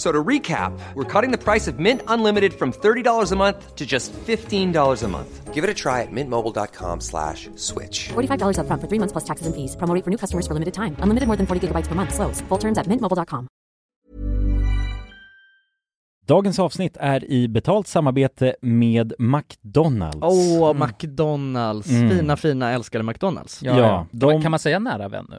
So to recap, we're cutting the price of Mint Unlimited from $30 a month to just $15 a month. Give it a try at mintmobile.com slash switch. $45 upfront for three months plus taxes and fees. Promote for new customers for limited time. Unlimited more than 40 gigabytes per month. Slows. Full terms at mintmobile.com. Dagens avsnitt är i betalt samarbete med McDonalds. Åh, McDonalds. Mm. Fina, fina, älskade McDonalds. Ja, ja. Kan, De, man, kan man säga nära vän nu?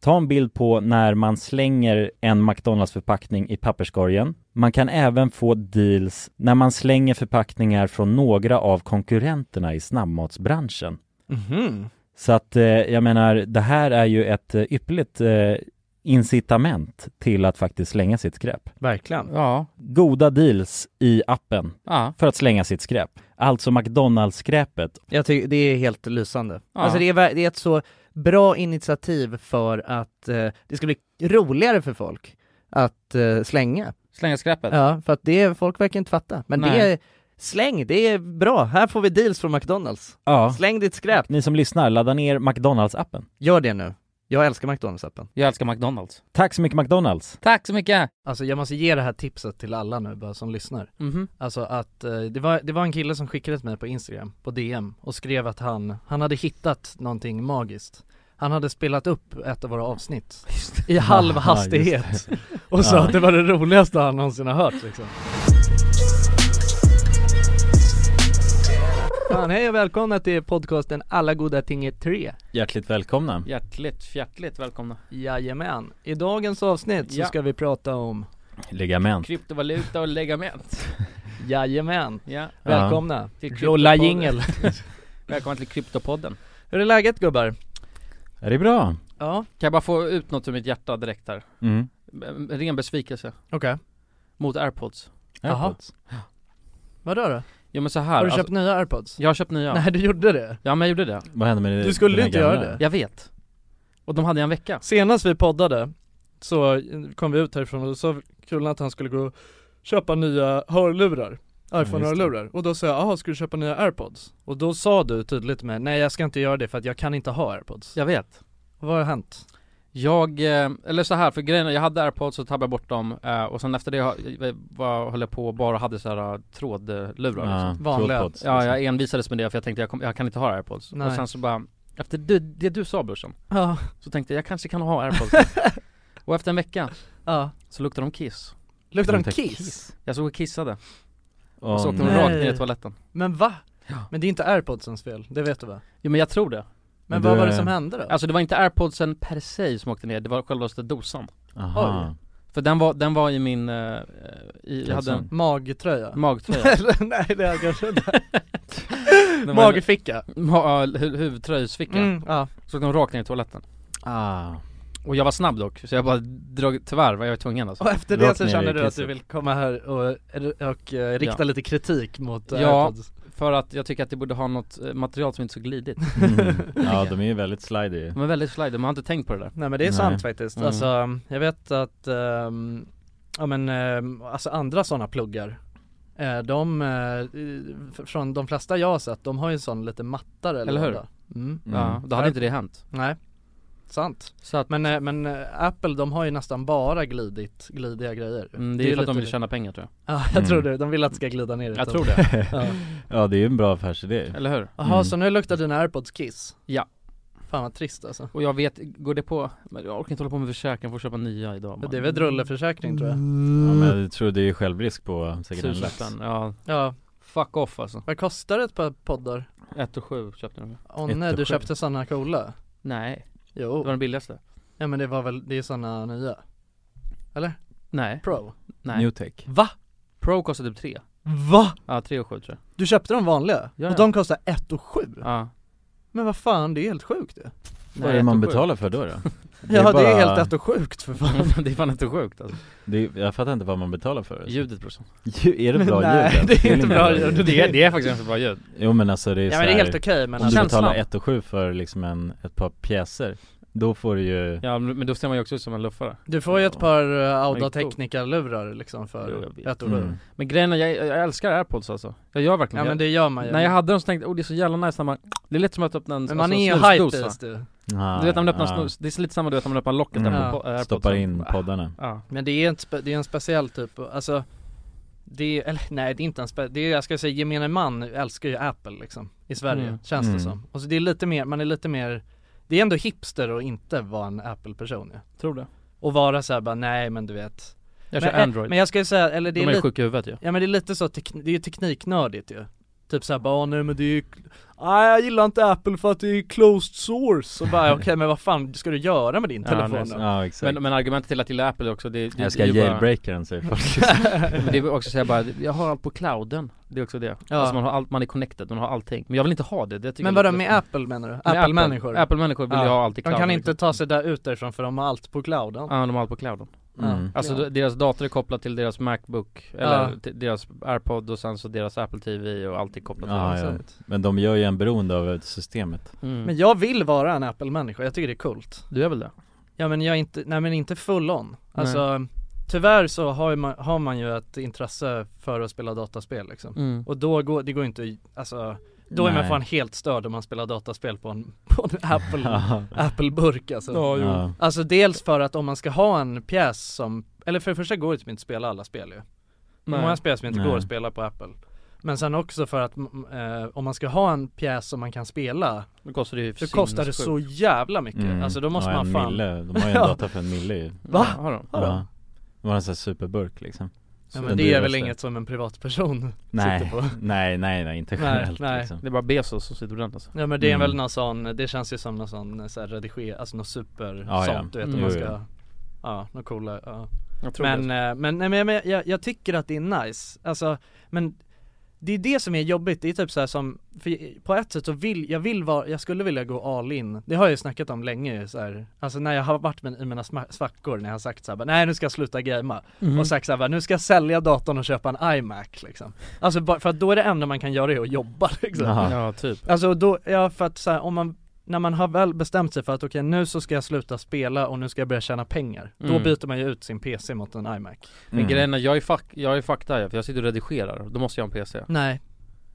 ta en bild på när man slänger en McDonalds-förpackning i papperskorgen. Man kan även få deals när man slänger förpackningar från några av konkurrenterna i snabbmatsbranschen. Mhm. Så att eh, jag menar, det här är ju ett eh, ypperligt eh, incitament till att faktiskt slänga sitt skräp. Verkligen. Ja. Goda deals i appen Ja. för att slänga sitt skräp. Alltså McDonalds-skräpet. Jag tycker det är helt lysande. Ja. Alltså det är, ver- det är ett så bra initiativ för att eh, det ska bli roligare för folk att eh, slänga. Slänga skräpet. Ja, för att det, folk verkar inte fatta. Men det Nej. är, släng, det är bra. Här får vi deals från McDonalds. Ja. Släng ditt skräp. Ni som lyssnar, ladda ner McDonalds-appen. Gör det nu. Jag älskar McDonalds-appen. Jag älskar McDonalds. Tack så mycket McDonalds! Tack så mycket! Alltså jag måste ge det här tipset till alla nu bara som lyssnar. Alltså att, eh, det var, det var en kille som skickade till mig på Instagram, på DM och skrev att han, han hade hittat någonting magiskt Han hade spelat upp ett av våra avsnitt i halv Ja, hastighet och sa Ja. att det var det roligaste han någonsin har hört liksom Fan, hej och välkomna till podcasten Alla goda ting är tre Hjärtligt välkomna! Hjärtligt, fjärtligt välkomna. Jajamän, i dagens avsnitt så Ja. ska vi prata om Ligament. Kryptovaluta och legament. Jajamän, Ja. välkomna! Till Rulla Kryptopodden. jingel! Välkomna till Kryptopodden. Hur är läget gubbar? Är det bra? Ja, Kan jag bara få ut något ur mitt hjärta direkt här? Mm. En Ren besvikelse. okej Mot airpods. Jaha. Airpods. Vadå då? Jo men så här. Har du alltså- köpt nya airpods? Jag har köpt nya. Nej du gjorde det? Ja men jag gjorde det. Vad hände med det? Du skulle den här inte göra gamla? det. Jag vet. Och de hade jag en vecka. Senast vi poddade så kom vi ut härifrån och då sa kulan att han skulle gå och köpa nya hörlurar just det. iPhone-hörlurar, och då sa jag jaha ska du köpa nya airpods? Och då sa du tydligt till mig, nej jag ska inte göra det för att jag kan inte ha airpods Jag vet. Och Vad har hänt? Jag, eh, eller så här för grejen är, jag hade airpods och tabbade jag bort dem eh, och sen efter det ha- eh, var, höll jag på och bara hade så här eh, trådlurar Ja, liksom. Vanliga. trådpods, Ja, liksom. jag envisades med det för jag tänkte jag, kom, jag kan inte ha airpods. Nej. Och sen så bara, efter du, det du sa brorsan, Ja, så tänkte jag jag kanske kan ha airpods. och efter en vecka ja så luktade de kiss. Luktar de Luktar kiss? Jag såg och kissade, Åh, och så åkte de nej. rakt ner i toaletten. Men va? Ja. Men det är inte airpodsens fel, det vet du va? Jo men jag tror det. Men eh, Du vad var det är- som hände då? Alltså det var inte airpodsen per se som åkte ner, det var självaste dosan Aha. För den var, den var i min, eh, i, jag hade en Kalsong. Magtröja? magtröja Nej det är kanske inte. Den var en- Magficka? ma- hu- Huvudtröjsficka, Mm, ja. så kom rakt ner i toaletten Ah. Och jag var snabb dock, så jag bara drog, tyvärr var jag tvungen alltså Och efter det Rakt så ner i känner du att du kisset. vill komma här och, och, eh, rikta Ja. lite kritik mot eh, Ja. AirPods? För att jag tycker att det borde ha något eh, material som inte är så glidigt Mm. Ja, de är ju väldigt slidy. De är väldigt slidiga, man har inte tänkt på det där Nej men det är Nej. sant faktiskt, Mm. alltså jag vet att ehm, Ja men ehm, alltså andra sådana pluggar eh, De, eh, i- f- från de flesta jag har sett, de har ju en sån lite mattare Eller hur? låda. Mm. Mm. Ja, då hade inte det hänt Nej, sant Så att, Men, eh, men eh, Apple de har ju nästan bara glidit, glidiga grejer mm, det är ju för att de lite- vill tjäna pengar tror jag Ja jag tror Mm. det, de vill att det ska glida ner i Jag tror tunn. det, Ja. Ja, det är ju en bra affärsidé. eller hur? Jaha Mm. så nu luktar dina airpods kiss? Ja. Fan vad trist alltså Och jag vet, går det på, men jag orkar inte hålla på med försäkring, jag får köpa nya idag man. Det är väl drulleförsäkring tror jag Ja, men jag tror det är självrisk på säkert en Tusen lax. spänn, ja Ja, Fuck off alltså, vad kostar ett par poddar? 1 och 7 köpte de Åh Ett nej, och du sju. köpte sådana coola? Nej, det Jo, var den billigaste ja men det var väl, det är sådana nya? Nej, Pro? nej Newtech. Va? Pro kostar typ 3 Va? Ja, 3 och 7 tror jag Du köpte de vanliga? Ja, Och ja. de kostar 1 och 7? Ja Men vad fan, det är helt sjukt det Vad är det man ett och sju. betalar för då då? Det Ja det är bara- helt 1 och sjukt för fan det är fan inte sjukt alltså. Det är, jag fattar inte vad man betalar för. Ljudet brorsan Ju- Är det bra ljud? Nej, ens? det är väl inte alltså. bra ljud. det, är- det är faktiskt ganska bra ljud Jo men alltså det är Ja så men det är här, helt okej men Om du alltså, Känslan. betalar 1 7 för liksom en, ett par pjäser Då får du ju Ja men men då ser man ju också ut som en luffare du får ju ett par uh, Auda cool. Technica-lurar liksom Jo, för jag vet. 1 och 7 mm. Men grejen är, jag, jag älskar airpods alltså Jag gör Ja verkligen men det gör man ju När jag hade dem så tänkte jag, oh det är så jävla nice när man Det är lite som att öppna en Men man är ju typ. alltså, snusdosa. hypebeast du Ja, Du vet när man öppnar ja. snus, det är lite samma du vet när man öppnar locket där Ah, Mm. på po- airpodsen Stoppar in poddarna Ja, Men det är, en spe, det är en speciell typ, alltså det är, eller nej det är inte en spe, det är, jag ska säga gemene man älskar ju Apple liksom I Sverige, Mm. känns det Mm. som Och så det är lite mer, man är lite mer Det är ändå hipster att inte vara en Apple-person ju tror det Och vara såhär bara, nej men du vet Jag kör men, Android, eh, Men jag ska ju säga, eller de det är är, ju lite, sjuka i huvudet ju ja men det är lite så, tekn, det är ju tekniknördigt ju Typ såhär bara, "Åh, nej men det är ju Nej jag gillar inte Apple för att det är closed source Och bara okej men vad fan ska du göra med din Ja, telefon nej, då? Ja exakt men, men argumentet till att gilla Apple också, det, det Jag ska det är ju bara- jailbreaka den säger folk Men det är också såhär bara, jag har allt på clouden Det är också det, Ja. alltså man har allt, man är connected, man har allting Men jag vill inte ha det, det tycker Men jag är vadå lite med Apple menar du? Med Apple-människor? Apple-människor vill Ja. ju ha allt i De clouden kan inte ta sig där ut därifrån för de har allt på clouden Ja, de har allt på clouden mm. Alltså Ja. deras dator är kopplad till deras Macbook, eller Ja. till deras Airpod och sen så deras Apple TV och allt är kopplat till Ja, det. ja. Men de gör ju en beroende av systemet Mm. Men jag vill vara en Apple-människa, jag tycker det är coolt Du är väl det? Ja men jag är inte, nej men inte full on Alltså tyvärr så har ju man, har man ju ett intresse för att spela dataspel liksom Mm. Och då går, det går inte, alltså då är man Nej. fan helt störd om man spelar dataspel på en, på en Apple, Ja, Apple-burk alltså ja. Alltså dels för att om man ska ha en pjäs som, eller för det första går det typ inte att spela alla spel ju Det är Nej. Många spel som inte Nej. går att spela på Apple Men sen också för att m- eh, om man ska ha en pjäs som man kan spela Då kostar det ju Så kostar det sinnessjukt. så jävla mycket, Mm. alltså då måste Ja, man en fan mille. De har ju en Ja. data för en mille ju Va? Ja, har de? Har de? Ja. De har en sån här superburk liksom ja, Den men det är väl dyraste. inget som en privatperson Nej, sitter på nej, nej, nej, inte Nej, generellt nej. Liksom. Det är bara Bezos som sitter på den alltså Ja men det är Mm. väl någon sån, det känns ju som någon sån så här rediger, alltså något super Ja, ja. sånt du vet om Mm. man Jo, jo. ska Ja, något coola, ja. Jag tror Men, det. eh, men, nej, men, jag- men jag, jag tycker att det är nice, alltså, men det är det som är jobbigt, det är typ så här som, för på ett sätt så vill, jag vill vara, jag skulle vilja gå all in, det har jag ju snackat om länge så här. alltså när jag har varit med, i mina sma- svackor när jag har sagt såhär nej nu ska jag sluta gamea, Mhm. och sagt såhär nu ska jag sälja datorn och köpa en iMac liksom Alltså bara- för att då är det enda man kan göra är att jobba liksom Jaha. Ja, typ Alltså då, ja för att så här, om man, när man har väl bestämt sig för att okej nu så ska jag sluta spela och nu ska jag börja tjäna pengar, då Mm. byter man ju ut sin PC mot en iMac Men Mm. grejen är, jag är fuck, jag är fucked där för jag sitter och redigerar, då måste jag ha en PC Nej,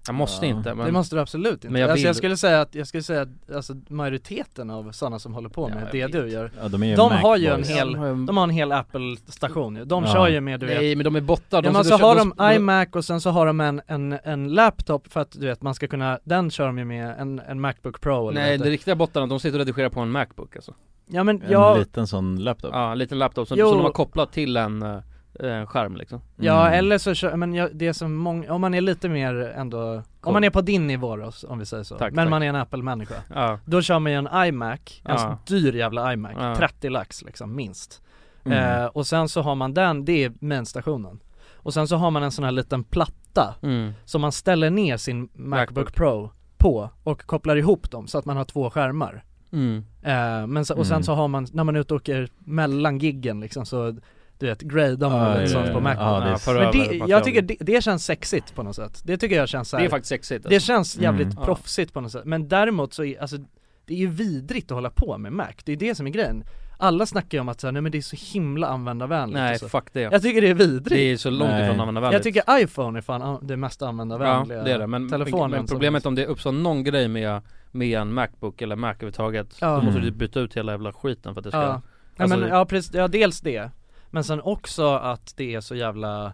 Jag måste Ja. inte men det måste du absolut inte. Men jag alltså jag vill- skulle säga att, jag skulle säga att alltså, majoriteten av sådana som håller på Ja, med jag det vet. du gör, ja, de är ju de har ju en Macboys. hel, de har en hel Apple-station ju. De Ja. kör ju med du vet Nej men de är borta, de Ja, men så sitter och har kör- de iMac och sen så har de en, en, en laptop för att du vet man ska kunna, den kör de ju med en, en Macbook Pro eller vad Nej, heter. de riktiga bottarna, de sitter och redigerar på en Macbook alltså Ja men En jag, liten sån laptop Ja, en liten laptop som, Jo. som de har kopplat till en eh, eh, skärm liksom Ja Mm. eller så kör, men jag, det som många, om man är lite mer ändå, om man är på din nivå då, om vi säger så, Tack, men tack. man är en Apple-människa Ja, Då kör man ju en iMac, en Ja. sån dyr jävla iMac, Ja. 30 lax liksom minst Mm. eh, Och sen så har man den, det är mainstationen Och sen så har man en sån här liten platta mm. som man ställer ner sin Macbook, Macbook. Pro på och kopplar ihop dem så att man har två skärmar Mm. eh, men så, Och Mm. sen så har man, när man är ute och åker mellan giggen liksom så Du vet, gradar man Ja, lite ja, sånt ja, på ja. Macbook Ja, det är- Ja, för men över det, material. jag tycker det, det känns sexigt på något sätt. Det tycker jag känns så här, Det är faktiskt sexigt det alltså. känns jävligt Mm. proffsigt på något sätt. Men däremot så är, alltså, det är ju vidrigt att hålla på med Mac. Det är det som är grejen. Alla snackar ju om att så här, nej men det är så himla användarvänligt Nej och så. fuck det Jag tycker det är vidrigt. Det är så långt Nej. ifrån användarvänligt jag tycker iPhone är fan an- det mest Ja användarvänliga det är det, men, telefonen men som problemet finns. om det uppstår någon grej med, med en Macbook eller Mac överhuvudtaget Ja. Då måste Mm. du byta ut hela jävla skiten för att det ska Ja, ja, Alltså- men, ja precis, ja dels det. Men sen också att det är så jävla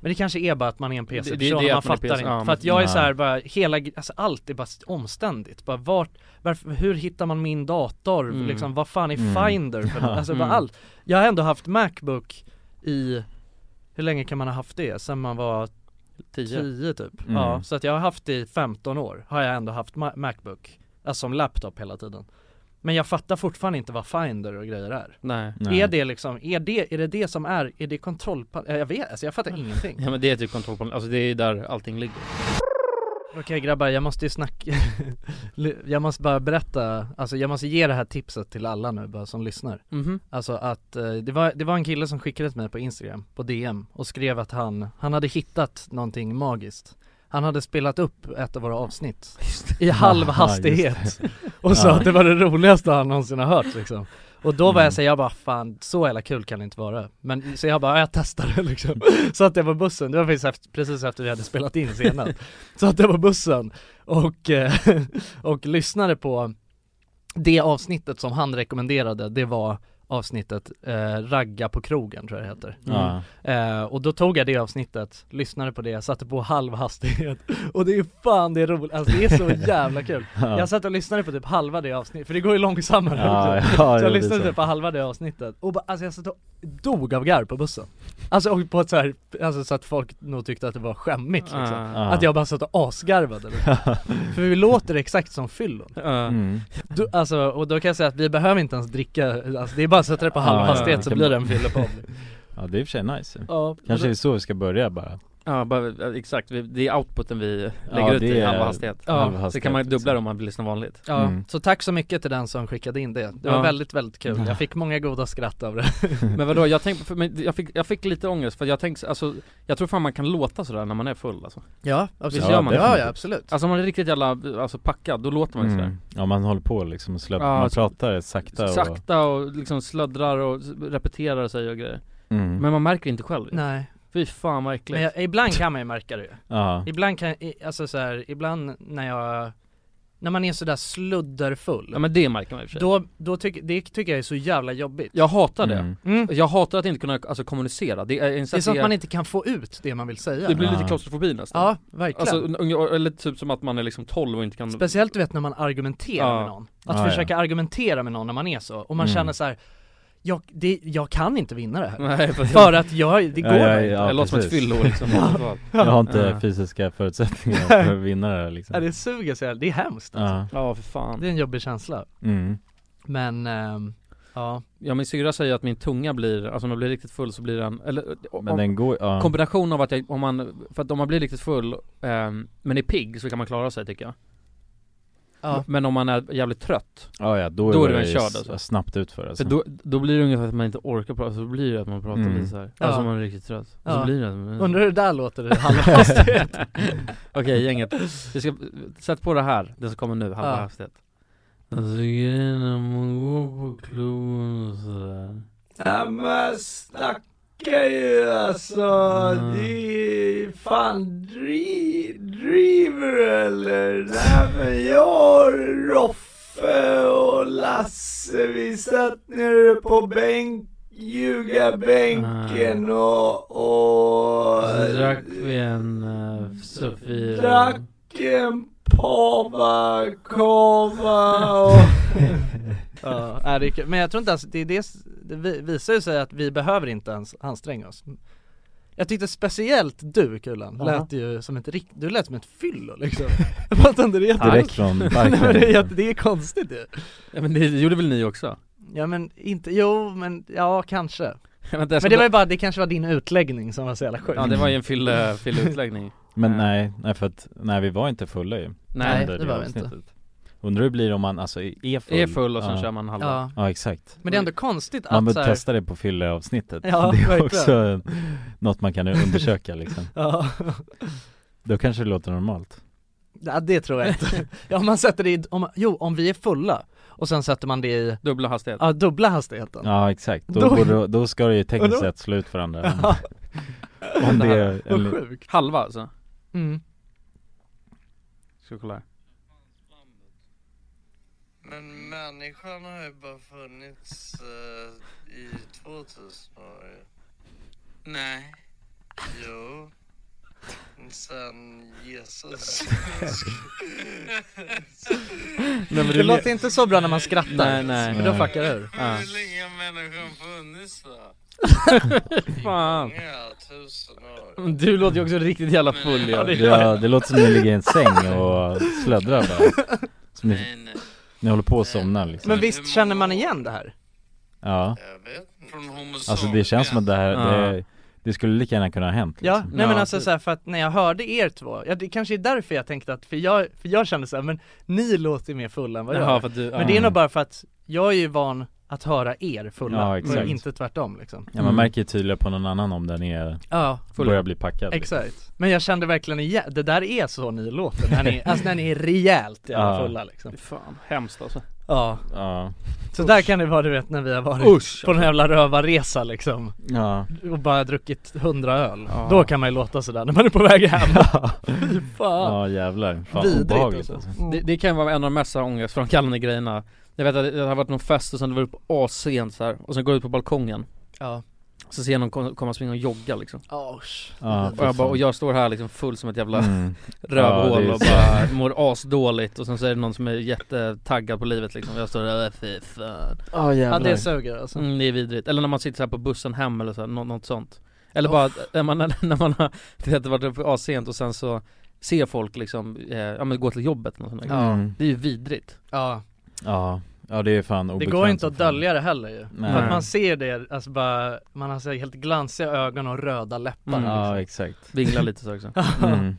men det kanske är bara att man är en Det- det- det är PC-person att och man är man fattar PC, inte. ja, men- för att jag är nej. så här bara, hela, gre- alltså allt är bara omständigt. Bara vart, varför, hur hittar man min dator? Mm. Liksom vad fan är Mm. Finder? För, Ja. Alltså Mm. bara allt. Jag har ändå haft Macbook i, hur länge kan man ha haft det? Sen man var 10 10 typ. Mm. Ja, så att jag har haft det i 15 år, har jag ändå haft Ma- Macbook. Alltså som laptop hela tiden. Men jag fattar fortfarande inte vad Finder och grejer är. Nej Nej. Är det liksom, är det, är det det som är, är det kontrollpanel? Jag vet, alltså jag fattar ingenting. Ja men det är typ kontrollpanel, alltså det är ju där allting ligger Okej grabbar, jag måste ju snacka, jag måste bara berätta, alltså jag måste ge det här tipset till alla nu bara som lyssnar. Mhm Alltså att, eh, det var, det var en kille som skickade till mig på Instagram, på DM och skrev att han, han hade hittat någonting magiskt. Han hade spelat upp ett av våra avsnitt i halv Ja, hastighet och sa Ja. att det var det roligaste han någonsin har hört liksom. Och då var Mm. jag såhär, jag bara fan så jävla kul kan det inte vara. Men så jag bara, ja, jag testar det liksom. Så att jag var bussen, det var precis efter, precis efter vi hade spelat in senast. Så att jag var bussen och, eh, och lyssnade på det avsnittet som han rekommenderade, det var avsnittet eh, Ragga på krogen tror jag det heter. Ja. Eh, och då tog jag det avsnittet, lyssnade på det, satte på halv hastighet och det är fan det är roligt, alltså det är så jävla kul. Ja. Jag satt och lyssnade på typ halva det avsnittet, för det går ju långsammare Ja, också. ja, så jo, jag det är lyssnade så. typ på halva det avsnittet och bara, alltså jag satt och dog av garv på bussen. Alltså och på ett så här, alltså så att folk nog tyckte att det var skämmigt liksom. Ah. Ja. Att jag bara satt och asgarvade liksom. För vi låter exakt som fyllon Ja. Mm. du, Alltså, och då kan jag säga att vi behöver inte ens dricka, alltså det är bara att sätta det på Ja, halv ja, hastighet ja. så blir det en fyllepodd ja, det är i och för sig nice Ja, Kanske är det så vi ska börja bara Ja, bara, ja, exakt, Vi- det är outputen vi lägger Ja, ut det i är- halva hastighet Ja, halv Så hastighet, kan man dubbla liksom. det om man vill lyssna vanligt Ja, Mm. så tack så mycket till den som skickade in det. Det var Ja. väldigt, väldigt kul. Jag fick många goda skratt av det. Men vadå, jag tänkte, för, men jag, fick, jag fick lite ångest för jag tänkte, alltså Jag tror fan man kan låta sådär när man är full alltså Ja, absolut. Ja, Ja, definitivt. ja, absolut. Alltså om man är riktigt jävla, alltså packad, då låter man ju sådär mm. Ja man håller på liksom och slöpar, Ja, man så- pratar sakta och Sakta och liksom slöddrar och s- repeterar sig och grejer mm. Men man märker inte själv ju. Nej, Fy fan vad äckligt men jag, ibland kan man ju märka det ju. Ja, Ibland kan, i- alltså så här, ibland när jag, när man är sådär sludderfull, Ja men det märker man i och för sig då, då tycker, det tycker jag är så jävla jobbigt. Jag hatar det Mm. Mm. Jag hatar att inte kunna alltså, kommunicera, det är, en, Det är så att man inte kan få ut det man vill säga. det blir lite Ja. klaustrofobi nästan Ja, verkligen. Alltså, unge- eller typ som att man är liksom 12 och inte kan Speciellt du vet när man argumenterar Ja. med någon. Att Ja, ja. försöka argumentera med någon när man är så, och man Mm. känner så här. Jag, det, jag kan inte vinna det här. Nej, för För att jag, det Ja, går ja, inte. ja, jag låter som ett precis. fyllo liksom ja. Jag har inte Ja. fysiska förutsättningar för att vinna det här liksom Ja, det suger så jävla- det är hemskt alltså. Ja, ja för fan Det är en jobbig känsla. mm. Men, ehm, ja. Ja min syrra säger att min tunga blir, alltså om jag blir riktigt full så blir den, eller om, Men den går, ja kombination av att jag, om man, för att om man blir riktigt full ehm, men är pigg så kan man klara sig tycker jag ja. Men om man är jävligt trött, Ja, ja då, Då är går det det en ju körd, s- alltså. snabbt ut för alltså. för då, då blir det ungefär att man inte orkar prata, så blir det att man pratar Mm. lite såhär Alltså Ja. om man är riktigt trött, Ja. så blir det Undrar hur det där låter i halva hastighet. Okej gänget, vi ska, sätt på det här, den som kommer nu, halva Ja. hastighet Alltså grejen är när man går på klubben och sådär Ja men snacka ju alltså, Mm. det är fan driver eller? Nej men jag Roffe och Lasse, vi satt nere på bänk, ljugarbänken och, och Så drack vi en uh, Sofia Drack en pava, kava och... ja, nej, det är kul. Men jag tror inte ens, det är det, det vi- visar ju sig att vi behöver inte ens anstränga oss. Jag tyckte speciellt du Kulan, Ja. lät ju som ett rikt, du lät som ett fyllo liksom. Jag fattar inte, det är jätte- Direkt från liksom. Nej, men det, är jätte- barken. det är konstigt ju. Ja, men det gjorde väl ni också? Ja men inte, jo men ja kanske. Jag vet inte, jag Alltså, Men det ska- var ju bara, det kanske var din utläggning som var så jävla sjuk. Ja det var ju en fylle- fylleutläggning Men nej, nej för att, nej vi var inte fulla ju Nej, under det var vi inte. avsnittet. Undrar hur det blir om man alltså är full är full och sen ja. kör man halva Ja, Ja exakt men det är ändå konstigt Man att bör så här, testa det på fylleavsnittet Ja, Det är verkligen. också en, något man kan undersöka liksom ja, Då kanske det låter normalt ja det tror jag inte. Ja om man sätter det i, om, jo om vi är fulla och sen sätter man det i, Dubbla hastighet ja dubbla hastigheten. Ja exakt, då, Då- borde, då ska det ju tekniskt Och då- sett slå ut varandra Ja, Om det är vad en, sjukt. Halva alltså? Mm. Ska vi kolla här Men människan har ju bara funnits eh, i 2000 år ju. Nej. Jo. Sen Jesus. Nej men Det låter inte så bra när man skrattar. Nej, nej. För då fuckar det ur. Ja. Hur länge har människan funnits då? Fan Ja, tusen år. Du låter ju också riktigt jävla full ja, ja. det, ja, det låter som ni ligger i en säng och slöddrar bara som ni, Nej, nej. ni håller på att somna liksom Men visst känner man igen det här? Ja, Jag vet inte. Från Homo alltså det känns som att det här, det, det skulle lika gärna kunna ha hänt Ja, liksom. nej men Ja, alltså typ. så här, för att när jag hörde er två, ja, det kanske är därför jag tänkte att, för jag, för jag kände så här, men ni låter mer fulla än vad jag Jaha, är. för att du, Men det är nog bara för att jag är ju van att höra er fulla, Ja, och exakt. inte tvärtom liksom Ja Mm. man märker ju tydligare på någon annan om den är, Ja, börjar bli packad liksom. exakt Men jag kände verkligen igen, det där är så ni låter när ni, alltså när ni är rejält jävla Ja. fulla liksom Fan, hemskt alltså Ja, Ja, så där kan det vara du vet när vi har varit på den här jävla rövarresa liksom ja och bara druckit hundra öl Ja. Då kan man ju låta sådär när man är på väg hem Fy fan Ja jävlar, fan Vidrigt obehagligt alltså. alltså. det, det kan ju vara en av de mest så här ångestframkallande grejerna Jag vet att det har varit någon fest och sen det var upp assent så här och sen går jag ut på balkongen Ja, Så ser jag någon kom- komma springa och jogga liksom Usch. Ja, och jag, bara, och jag står här liksom full som ett jävla Mm. Ja, rövhål det är och så. bara mår asdåligt och sen så är det någon som är jättetaggad på livet liksom Jag står där, "Äh, fy fan Ja det suger alltså mm, Det är vidrigt, eller när man sitter så här på bussen hem eller så här, nå- något sånt Eller bara att- när man, när man har, du vet, varit uppe assent och sen så ser folk liksom, eh, ja men gå till jobbet eller något sånt där. Mm. Det är ju vidrigt Ja, Ja, ja det är fan det obekvämt går inte som att fan. dölja det heller ju Nej. För att man ser det, alltså bara, man har så här helt glansiga ögon och röda läppar Mm. Ja exakt Vinglar lite så också mm.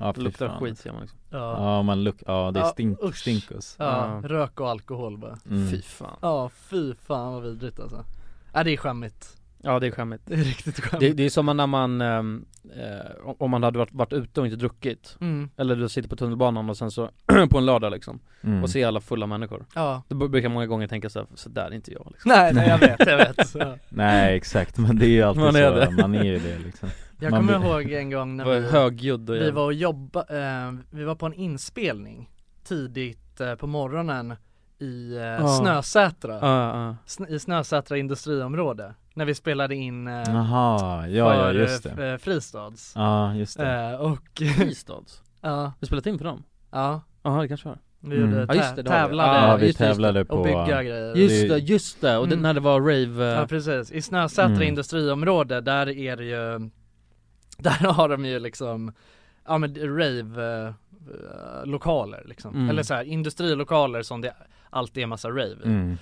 Ja Det fy luktar fan. skit ser man liksom Ja, Ja man luk, ja det är Ja, stink, usch. stinkus ja, Ja. rök och alkohol bara mm. Fy fan Ja, fy fan vad vidrigt alltså Ja det är skämmigt, Ja det är skämmigt det är riktigt skämmigt Det, det är som när man, ehm, eh, om- om man hade varit, varit ute och inte druckit Mm, Eller du sitter på tunnelbanan och sen så, på en lördag liksom, mm. och ser alla fulla människor ja Då b- brukar jag många gånger tänka såhär, så där är inte jag liksom Nej, nej jag vet, jag vet ja. Nej exakt, men det är ju alltid Man så, är det. man är ju det liksom Jag Man kommer blir- ihåg en gång när Var vi, högljudd och vi var och jobba, eh, vi var på en inspelning tidigt eh, på morgonen i eh, Ja. Snösätra Ja, ja. Sn- i Snösätra industriområde när vi spelade in eh, Jaha, ja ja för just eh, f- det eh, Fristads Ja just det eh, och Fristads, ja, vi spelat in för dem? ja, Jaha det kanske var vi Mm. gjorde Ja, just det, tä- det har vi. tävlade Ja vi just det, just det. tävlade och på bygga grejer Just det, just det, och det, Mm. när det var rave eh, Ja precis, i Snösätra Mm. industriområde där är det ju Där har de ju liksom Ja men rave eh, eh, lokaler liksom, Mm. eller så här industrilokaler som det alltid är massa rave i. mm.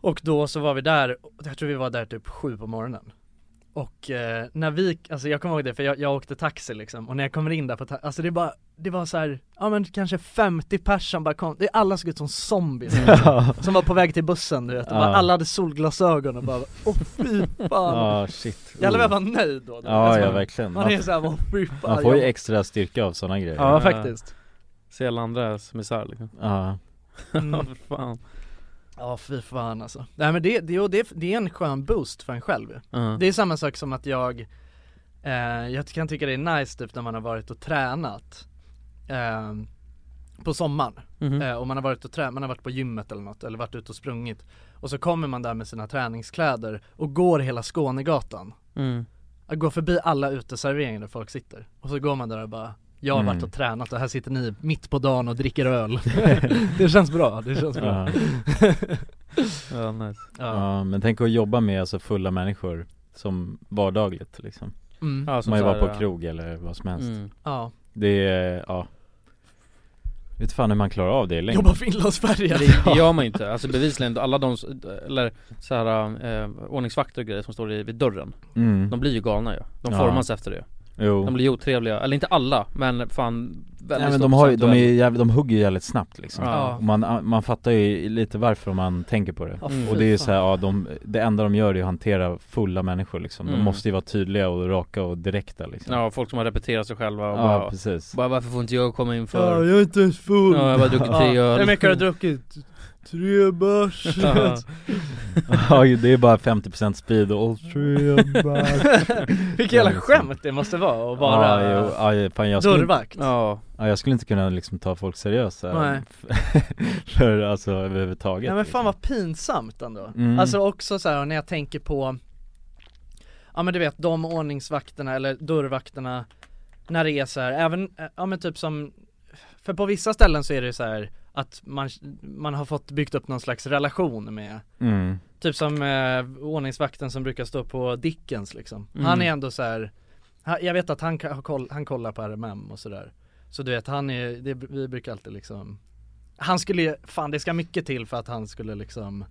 Och då så var vi där, jag tror vi var där typ sju på morgonen Och eh, när vi, alltså jag kommer ihåg det för jag, jag åkte taxi liksom och när jag kommer in där på taxi, alltså det bara det var så här, ja men kanske 50 pers som bara kom, det alla såg ut som zombies liksom. Som var på väg till bussen du vet, och bara, Ja. alla hade solglasögon och bara åh fy fan Ja shit Jävlar vad jag Oh. var nöjd då Ja ja man, verkligen, man man, är såhär, åh fy fan man får ju jag- extra styrka av sådana grejer Ja faktiskt Se alla andras misär liksom Ja, Ja Mm. för fan Ja fy fan alltså Nej men det, det, jo, det, det är en skön boost för en själv ju. Ja. Det är samma sak som att jag eh, Jag kan tycka det är nice typ när man har varit och tränat eh, På sommaren Mhm. Mm. eh, och man har varit och tränat, man har varit på gymmet eller något eller varit ute och sprungit Och så kommer man där med sina träningskläder och går hela Skånegatan Mm. Att gå förbi alla uteserveringar där folk sitter och så går man där och bara Jag har varit Mm. och tränat och här sitter ni mitt på dagen och dricker öl Det känns bra, det känns bra Ja. Ja, nice. Ja, Ja, men tänk att jobba med alltså fulla människor som vardagligt liksom mm. Som Ja, som man ju så var här, på ja. krog eller vad som helst Mm. ja. Det är, ja Vet fan hur man klarar av det i längden Jobba Finlandsfärja Men Det, det gör man ju inte, alltså bevisligen alla de, s- eller så här, eh, ordningsvakter och grejer som står i- vid dörren mm. De blir ju galna ju, de Ja. formas efter det Jo De blir ju otrevliga, eller inte alla men fan väldigt Nej men stor de, har ju, de, procentuell- är ju jävligt, de hugger ju jävligt snabbt liksom Ja. Och man, man fattar ju lite varför om man tänker på det Ja, Mm. fy Och det är ju fan. så här, ja, de, det enda de gör är att hantera fulla människor liksom De Mm. måste ju vara tydliga och raka och direkta liksom Ja, folk som har repeterat sig själva och ja bara, precis bara varför får inte jag komma in för? jag är inte ens full Ja, jag har bara druckit tre öl Hur mycket har du druckit? Tre bärs Ja. Ja ju, det är bara 50% speed och all three about- Vilket jävla skämt det måste vara att vara ja, jo, ja, ju, fan, jag skulle, inte- dörrvakt Ja, ja, jag skulle inte kunna liksom ta folk seriöst så här, Nej. För alltså överhuvudtaget Nej men liksom. fan vad pinsamt ändå Mm. Alltså också så här när jag tänker på Ja men du vet de ordningsvakterna eller dörrvakterna När det är så här, även, eh, ja men typ som För på vissa ställen så är det så här att man, man har fått byggt upp någon slags relation med mm. Typ som eh, ordningsvakten som brukar stå på Dickens liksom Mm. Han är ändå så här ha- Jag vet att han, ka- har koll, han kollar på RMM och sådär Så du vet han är, det, vi brukar alltid liksom Han skulle ju, fan det ska mycket till för att han skulle liksom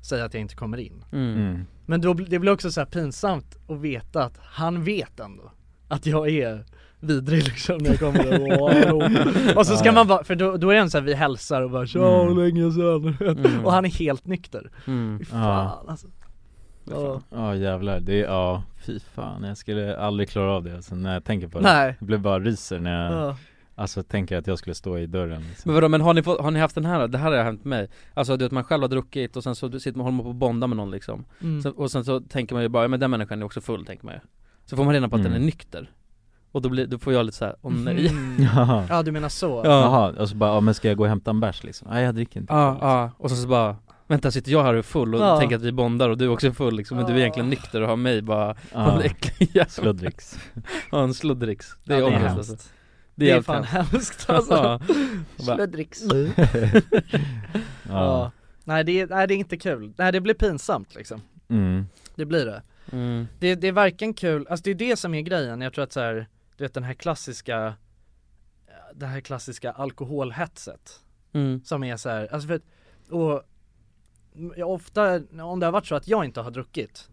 Säga att jag inte kommer in mm. Mm. Men då, bl- det blir också så här pinsamt att veta att han vet ändå Att jag är vidrig liksom när jag kommer där och, hallå. och så ska man bara, för då, då är det en så här vi hälsar och bara tja hur länge sedan Mm. Och han är helt nykter Mm. Fy fan alltså typ ja. Ja jävlar, det är, ja fy fan jag skulle aldrig klara av det alltså, när jag tänker på det Nej. Jag blev bara ryser när jag, Ja. alltså tänker att jag skulle stå i dörren Men liksom. vadå, men har ni, fått, har ni haft den här då? Det här har hänt mig Alltså du vet man själv har druckit och sen så sitter man, håller man på och bondar med någon liksom Mm. sen, Och sen så tänker man ju bara, ja, men den människan är också full tänker man ju Så får man reda på att Mm. den är nykter Och då, blir, då får jag lite såhär, åh nej Mm. Jaha, Ja du menar så? Ja. Jaha, och så bara, ja, men ska jag gå och hämta en bärs liksom? Nej jag dricker inte Ja, ja, och sen så bara Vänta sitter jag här och är full och Ja. tänker att vi bondar och du också är full liksom, men du är egentligen nykter och har mig bara Ja. ja. äcklig jävel. Sluddricks Ja en sluddricks, det Ja, är det är ångest hemskt. alltså Det är jävligt fan hemskt. hemskt alltså Ja. Och bara, Sluddricks Ja, ja. Nej, det är, nej det är inte kul, nej det blir pinsamt liksom mm, Det blir det mm, Det, det är varken kul, alltså det är det som är grejen, jag tror att så här, du vet den här klassiska Det här klassiska alkoholhetset mm, som är så här, alltså för att, och jag ofta, om det har varit så att jag inte har druckit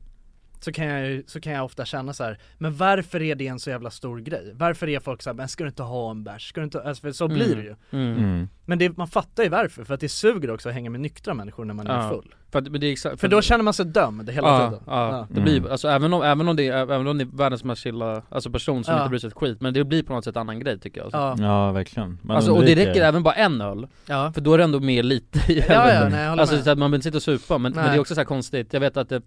så kan jag ju, så kan jag ofta känna så här, men varför är det en så jävla stor grej? Varför är folk så här, men ska du inte ha en bärs? Ska du inte, alltså för så blir det ju mm. mm, Men det, man fattar ju varför, för att det suger också att hänga med nyktra människor när man är Ja. full För, att- men det är exakt, För då känner man sig dömd hela ja, tiden Ja, Ja. det blir, Mm. alltså även om, även om det är, även om det är världens mest chilla, alltså person som Ja. inte bryr sig ett skit Men det blir på något sätt annan grej tycker jag alltså. Ja, ja verkligen Man Alltså och det undviker- räcker även bara en öl, ja, för då är det ändå med lite i ja, ja nej, jag håller Alltså med så att man behöver inte sitta och supa, men, men Nej. det är också så här konstigt, jag vet att det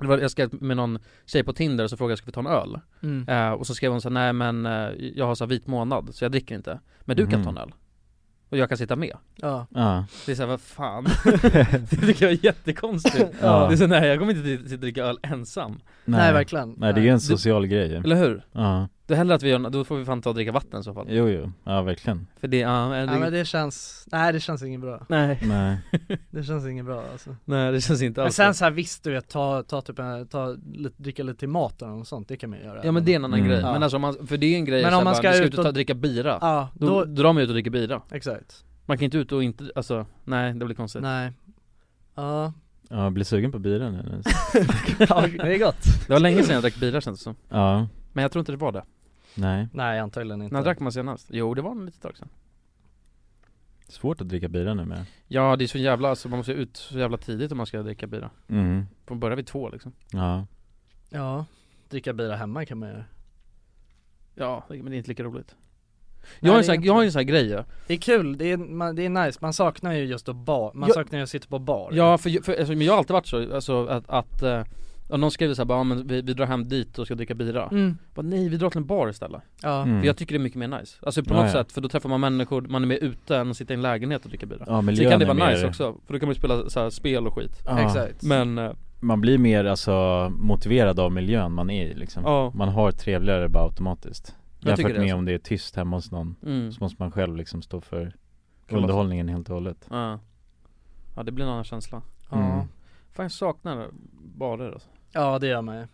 det var- jag skrev med någon tjej på Tinder och så frågade jag ska vi ta en öl? mm. Eh, och så skrev hon så här, nej men eh, jag har så här vit månad så jag dricker inte Men du kan ta en öl Och jag kan sitta med ja. Ja, Det är såhär, vad fan? det tycker jag är jättekonstigt Ja. Det är så här, nej jag kommer inte till- till att dricka öl ensam Nej. verkligen Nej det är ju en social grej ju. Eller hur? Ja, Det är hellre att vi gör, då får vi fan ta och dricka vatten i så fall jo jo, ja verkligen För det, ja, Ja, eller- men det känns, nej det känns inget bra Nej, Nej, Det känns inget bra alltså nej det känns inte Men alls sen så här visst du vet, ta, ta typ en, ta, lite, dricka lite till maten och sånt, det kan man ju göra Ja men det är en annan Mm. grej, Ja. men alltså om man, för det är en grej Men så om här man bara, ska du ska ut ut och och- ta och dricka bira Ja, Då då, drar man ut och dricker bira. exakt, Man kan inte ut och inte, alltså, nej det blir konstigt nej Ja, ja jag blir sugen på bira nu nu. ja det är gott Det var länge sedan jag drack bira känns det som Ja, Men jag tror inte det var det nej, Nej antagligen inte När drack man senast? Jo det var en litet tag sedan svårt att dricka bira nu med Ja det är så jävla, alltså man måste ut så jävla tidigt om man ska dricka bira Mm, Får börja vid två liksom ja, Ja, dricka bira hemma kan man ju Ja, men det är inte lika roligt Jag Nej, har det en sån är här, jag har ju en sån här grej ju. Det är kul, det är, man, det är nice, man saknar ju just att bar, man Ja. saknar ju att sitta på bar Ja för, för alltså, men jag har alltid varit så, alltså att, att eh, om någon skriver såhär bara, ja, men vi, vi drar hem dit och ska dricka bira mm. bara, nej vi drar till en bar istället Ja, mm. För jag tycker det är mycket mer nice Alltså på Ja, något ja. sätt, för då träffar man människor, man är mer ute än att sitta i en lägenhet och dricka bira Ja Sen miljön kan det är vara mer... nice också, för då kan man ju spela så här spel och skit ja, exakt Men, eh, Man blir mer alltså motiverad av miljön man är i liksom ja, Man har trevligare bara automatiskt Jag tycker Jämfört det med alltså. om det är tyst hemma hos någon Mm. så måste man själv liksom stå för man- underhållningen helt och hållet Ja. ja, det blir en annan känsla Ja. Mm. Fan jag saknar barer alltså. Ja det gör man ju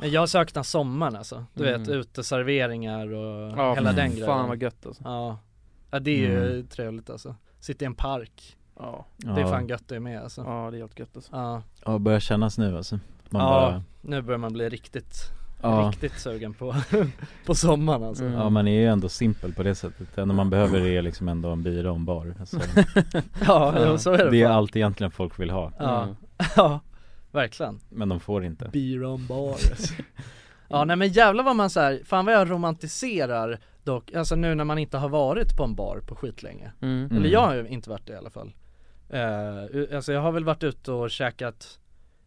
Men jag saknar sommaren alltså, du Mm. vet uteserveringar och Ja, hela fy den Mm. Fan grejen vad gött alltså. ja. ja det är ju Mm. trevligt alltså, sitta i en park, Ja, det är Ja. fan gött det med alltså Ja, ja det är helt gött alltså. Ja, börjar kännas nu alltså Man Ja. bara, nu börjar man bli riktigt, ja, riktigt sugen på, på sommaren alltså Mm. ja man är ju ändå simpel på det sättet Det enda man behöver är liksom ändå en bira och en bar alltså, Ja, jo, så är det, Det är fan. allt egentligen folk vill ha, Ja, Mm. ja, verkligen men de får inte Beer on bar alltså. Ja nej men jävlar vad man såhär, fan vad jag romantiserar dock, alltså nu när man inte har varit på en bar på skitlänge Mm. Mm. Eller jag har ju inte varit det i alla fall Eh, u- Alltså jag har väl varit ute och käkat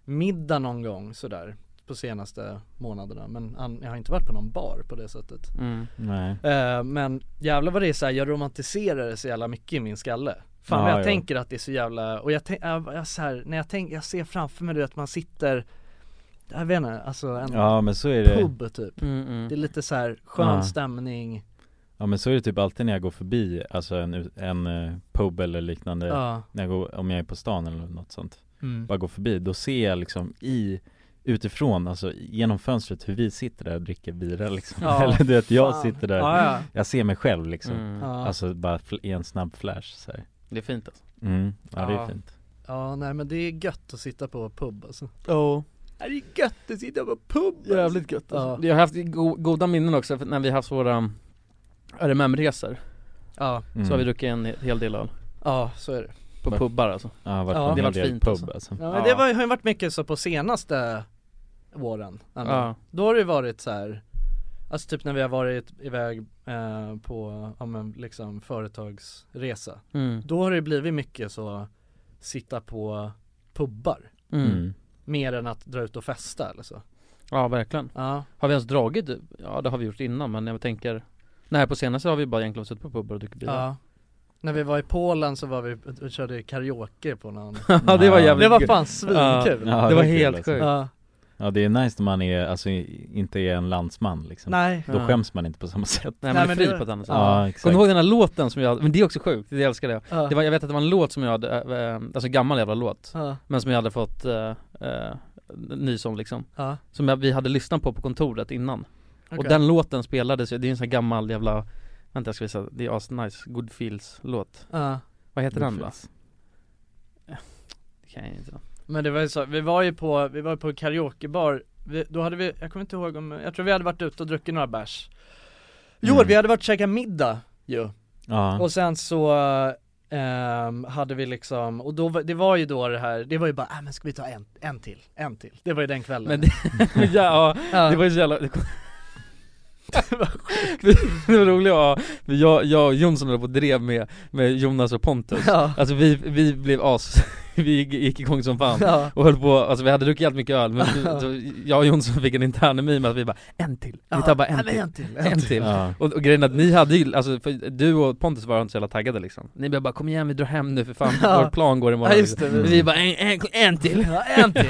middag någon gång sådär på senaste månaderna men an- jag har inte varit på någon bar på det sättet Mm. Nej Eh, Men jävlar vad det är så här, jag romantiserar det så jävla mycket i min skalle Fan Ja, vad jag ja. tänker att det är så jävla, och jag, tän- jag, jag, så här, när jag, tänk, jag ser framför mig du vet man sitter, jag vet inte, alltså en Ja men så är det, pub typ Mm, mm. Det är lite så här skön Ja. stämning, ja men så är det typ alltid när jag går förbi, alltså en, en eh, pub eller liknande ja, när jag går, om jag är på stan eller något sånt, mm. bara går förbi, då ser jag liksom i utifrån, alltså genom fönstret hur vi sitter där och dricker bira liksom Ja, Eller du vet, jag fan. sitter där, ja, ja. jag ser mig själv liksom Mm. ja. Alltså bara fl- i en snabb flash så här. Det är fint alltså. Mm, ja det Ja. är fint Ja nej men det är gött att sitta på pub alltså Ja, Det är gött att sitta på pub alltså. jävligt gött alltså. Jag har haft go- goda minnen också för när vi har haft våra RMM-resor Ja, mm. så har vi druckit en hel del öl ja så är det på Va? pubbar alltså. Ja, varit Ja. på en Det hel har varit del fint, pub alltså. alltså, Ja men Ja. det var, har ju varit mycket så på senaste åren Anna. Ja. Då har det ju varit så här. Alltså typ när vi har varit iväg eh, på, ja men liksom företagsresa Mm. Då har det blivit mycket så sitta på pubbar Mm. Mm. Mer än att dra ut och festa eller så Ja verkligen. Ja, Har vi ens dragit? Ja det har vi gjort innan men jag tänker Nej på senaste har vi bara egentligen suttit på pubbar och druckit ja, bira När vi var i Polen så var vi, och körde karaoke på någon Ja det var Ja. jävligt Det var gött. fan svinkul! Ja, Det är kul, var helt alltså. sjukt. Ja. Ja det är nice när man är, alltså i- inte är en landsman liksom Nej, Då Ja. skäms man inte på samma sätt Nej Nej, men men fri det- på ett annat sätt Ja, Kommer exakt du ihåg den här låten som jag, men det är också sjukt, det älskar jag Ja. det var, Jag vet att det var en låt som jag hade, eh, eh, alltså en gammal jävla låt ja, Men som jag hade fått eh, eh, ny som liksom ja, Som jag, vi hade lyssnat på på kontoret innan Och okej. den låten spelades ju, det är en sån här gammal jävla Vänta jag ska visa, det är asnice, Good Feels låt ja. Vad heter Good den då? feels. Eh, Det kan jag inte Men det var ju så, vi var ju på, vi var på karaokebar, vi, då hade vi, jag kommer inte ihåg om, jag tror vi hade varit ute och druckit några bärs Jo, Mm. vi hade varit och käkat middag ju, Ja, och sen så ehm, hade vi liksom, och då, var- det var ju då det här, det var ju bara, äh, men ska vi ta en, en till, en till, det var ju den kvällen Men det, ja, ja, ja, det var ju så jävla det kom- Det var roligt, ja, jag, jag och Jonsson höll på och drev med, med Jonas och Pontus ja, Alltså vi, vi blev as, vi gick, gick igång som fan ja, och höll på, alltså vi hade druckit jävligt mycket öl men då, jag och Jonsson fick en intern meme att vi bara en till, vi tar bara Ja, en men till, en till, en till ja, och, och grejen är att ni hade ju, alltså för du och Pontus var inte så jävla taggade liksom Ni bara 'Kom igen vi drar hem nu för fan, Ja. vår plan går imorgon' Ja, just det, liksom. vi- Vi bara en, en, en till! ja, en till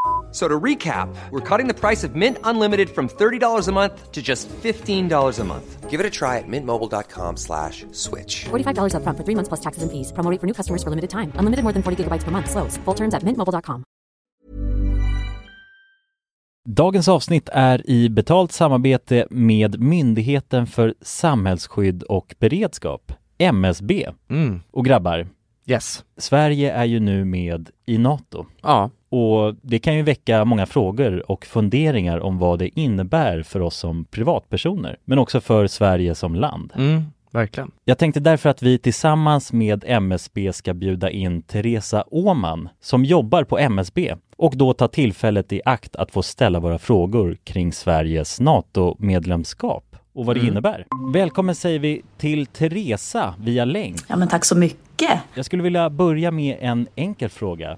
So to recap, we're cutting the price of Mint Unlimited from $30 a month to just $15 a month. Give it a try at mintmobile.com slash switch. $45 upfront for three months plus taxes and fees. Promo rate for new customers for limited time. Unlimited more than 40 gigabytes per month. Slows. Full terms at mintmobile.com. Dagens avsnitt är i betalt samarbete med Myndigheten för samhällsskydd och beredskap, MSB. Och grabbar, Mm, Yes. Sverige är ju nu med i NATO. Ja. Och det kan ju väcka många frågor och funderingar om vad det innebär för oss som privatpersoner, men också för Sverige som land. Mm, verkligen. Jag tänkte därför att vi tillsammans med MSB ska bjuda in Teresa Åman som jobbar på MSB och då ta tillfället i akt att få ställa våra frågor kring Sveriges NATO-medlemskap och vad det innebär. Välkommen säger vi till Teresa via länk. Ja, men tack så mycket. Jag skulle vilja börja med en enkel fråga.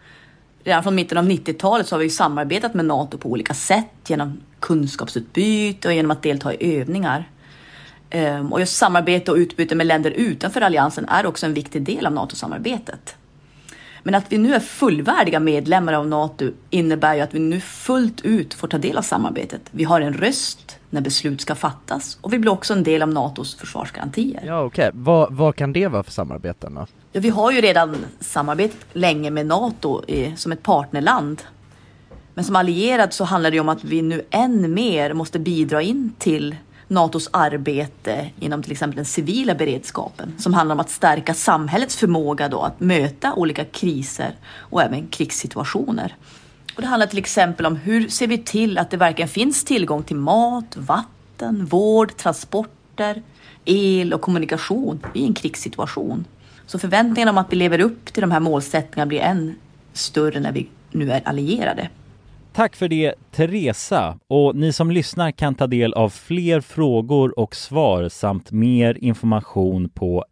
Redan från mitten av 90-talet så har vi ju samarbetat med Nato på olika sätt genom kunskapsutbyte och genom att delta i övningar. Ehm, Och just samarbete och utbyte med länder utanför alliansen är också en viktig del av NATO-samarbetet. Men att vi nu är fullvärdiga medlemmar av NATO innebär ju att vi nu fullt ut får ta del av samarbetet. Vi har en röst när beslut ska fattas och vi blir också en del av NATOs försvarsgarantier. Ja okej, vad, vad kan det vara för samarbeten då? Ja, vi har ju redan samarbetat länge med Nato eh, som ett partnerland. Men som allierad så handlar det ju om att vi nu än mer måste bidra in till Natos arbete inom till exempel den civila beredskapen som handlar om att stärka samhällets förmåga då att möta olika kriser och även krigssituationer. Och det handlar till exempel om hur ser vi till att det verkligen finns tillgång till mat, vatten, vård, transporter, el och kommunikation i en krigssituation. Så förväntningarna om att vi lever upp till de här målsättningarna blir än större när vi nu är allierade. Tack för det Teresa och ni som lyssnar kan ta del av fler frågor och svar samt mer information på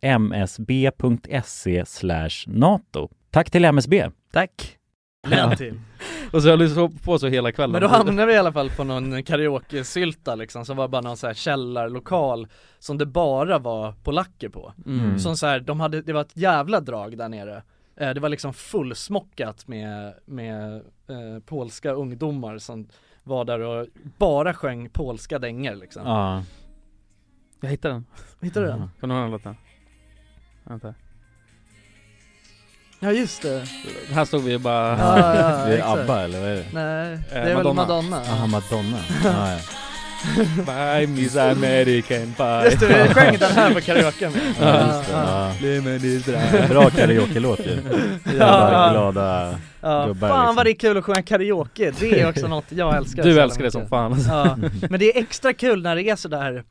msb.se E NATO. Tack till MSB. Tack. En till. Och så höll du så- på så hela kvällen. Men då hamnade vi i alla fall på någon karaoke-sylta liksom som var bara någon så här källarlokal som det bara var polacker på. Mm. Som så här, de hade, det var ett jävla drag där nere. Eh, Det var liksom fullsmockat med, med eh, polska ungdomar som var där och bara sjöng polska dängor liksom. Ja. Mm. Jag hittade den. Hittar du den? Kan du höra den låten? Vänta. Ja just det. Här stod vi och bara... Ja, ja, det är exakt. ABBA eller vad är det? Nej, det Eh, är väl Madonna. Madonna. Aha, Madonna. Ah, ja. Bye Miss American Just pie. det, vi sjöng den här på karaoken. Ja, just det. Ja. Bra karaoke-låt ju. Jävla glada. Ja, Gubbar, fan liksom. vad det är kul att sjunga karaoke, det är också något jag älskar Du så jävla älskar det som mycket. fan alltså. Ja, men det är extra kul när det är sådär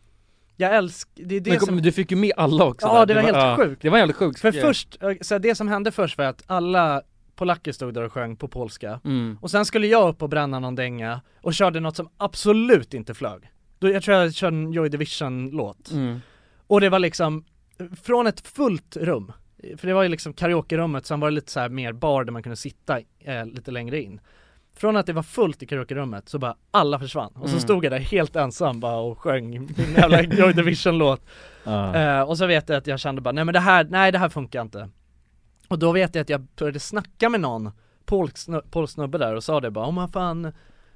Jag älskar, det är det Men kom, som du fick ju med alla också Ja, där. det var helt sjukt. Det var jävligt sjukt För Ja. först, eh, så här, det som hände först var att alla polacker stod där och sjöng på polska mm. Och sen skulle jag upp och bränna någon dänga och körde något som absolut inte flög Då, Jag tror jag körde en Joy Division-låt Mm. Och det var liksom, från ett fullt rum, för det var ju liksom karaokerummet, sen var det lite så här mer bar där man kunde sitta eh, lite längre in. Från att det var fullt i karaokerummet så bara alla försvann och så Mm. stod jag där helt ensam bara och sjöng min jävla Joy Division-låt. Ja. Eh, och så vet jag att jag kände bara nej men det här, nej det här funkar inte. Och då vet jag att jag började snacka med någon polsk snu- polsk snubbe där och sa det bara om man fan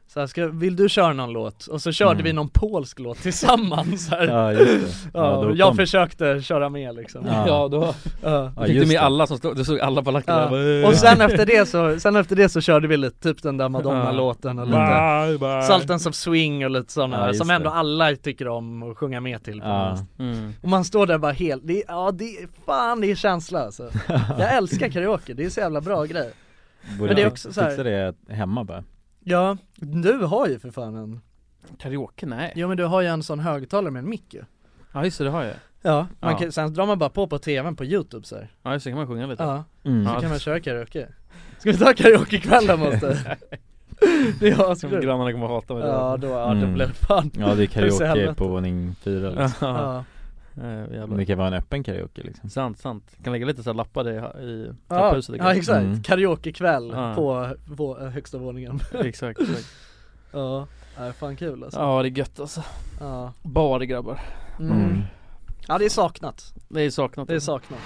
så här, ska, vill du köra någon låt? Och så körde Mm. vi någon polsk låt tillsammans här. Ja, just det. Ja, Ja, då och jag kom- försökte köra med liksom Ja. Ja, då- ja. Ja, Eh. Fick du med alla som stod, du såg alla polackerna Ja. bara, Och sen efter, det så, sen efter det så körde vi lite, typ den där Madonna-låten och Ja. Bye, lite bye. Saltens of Swing och lite Ja, sådana just som ändå det. alla tycker om att sjunga med till på Ja. något sätt. Mm. Och man står där bara helt, det, är- ja det är fan det är känsla alltså. Jag älskar karaoke, det är så jävla bra grej Borde Men det är fi- också så här- Fixa det hemma bara. Ja, du har ju för fan en Karaoke? Nej Jo men du har ju en sån högtalare med en mick ju Ja just det, det har jag Ja, man Ja. Kan, sen drar man bara på på tvn på youtube så här. Ja just det, kan man sjunga lite? Ja, Mm. så kan man köra karaoke Ska vi ta karaokekväll då måste? Det är askul. Grannarna kommer hata mig Ja, då, ja det Mm. blir fan Ja det är Så karaoke helvete. på våning fyra liksom. Ja. Ja. Eh, jävlar. Det kan vara en öppen karaoke liksom. Sant, sant. Kan lägga lite så här lappar i, i Ja, trapphuset ja exakt, Mm. karaokekväll Ja. på vå- eh, högsta våningen exakt, exakt. Ja, det är fan kul alltså Ja det är gött alltså. Ja, Bar grabbar. mm. ja det är saknat, Det är saknat. det är saknat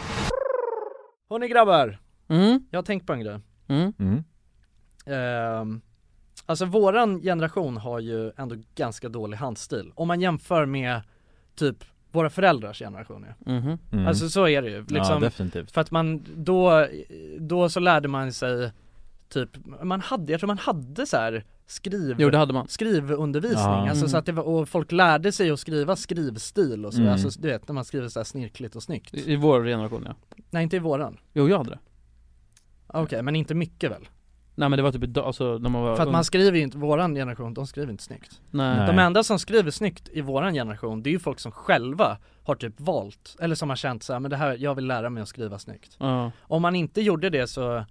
Hörni grabbar, Mm, jag har tänkt på en grej mm. Mm. Ehm, Alltså våran generation har ju ändå ganska dålig handstil Om man jämför med typ våra föräldrars generation ja. Mhm. Mm. Alltså så är det ju ja liksom, definitivt. För att man, då, då så lärde man sig typ, man hade, jag tror man hade så här skriv Jo det hade man. skrivundervisning, Ja. alltså Mm. så att det var, och folk lärde sig att skriva skrivstil och så, Mm. alltså du vet när man skriver så här snirkligt och snyggt I, I vår generation ja. Nej inte i våran, Ah, Jo jag hade det. okej men inte mycket väl? Nej men det var typ idag, alltså när man var För att ung. man skriver ju inte, våran generation, de skriver inte snyggt Nej. Nej. De enda som skriver snyggt i våran generation, det är ju folk som själva har typ valt, eller som har känt så här, men det här, jag vill lära mig att skriva snyggt Ja. Om man inte gjorde det så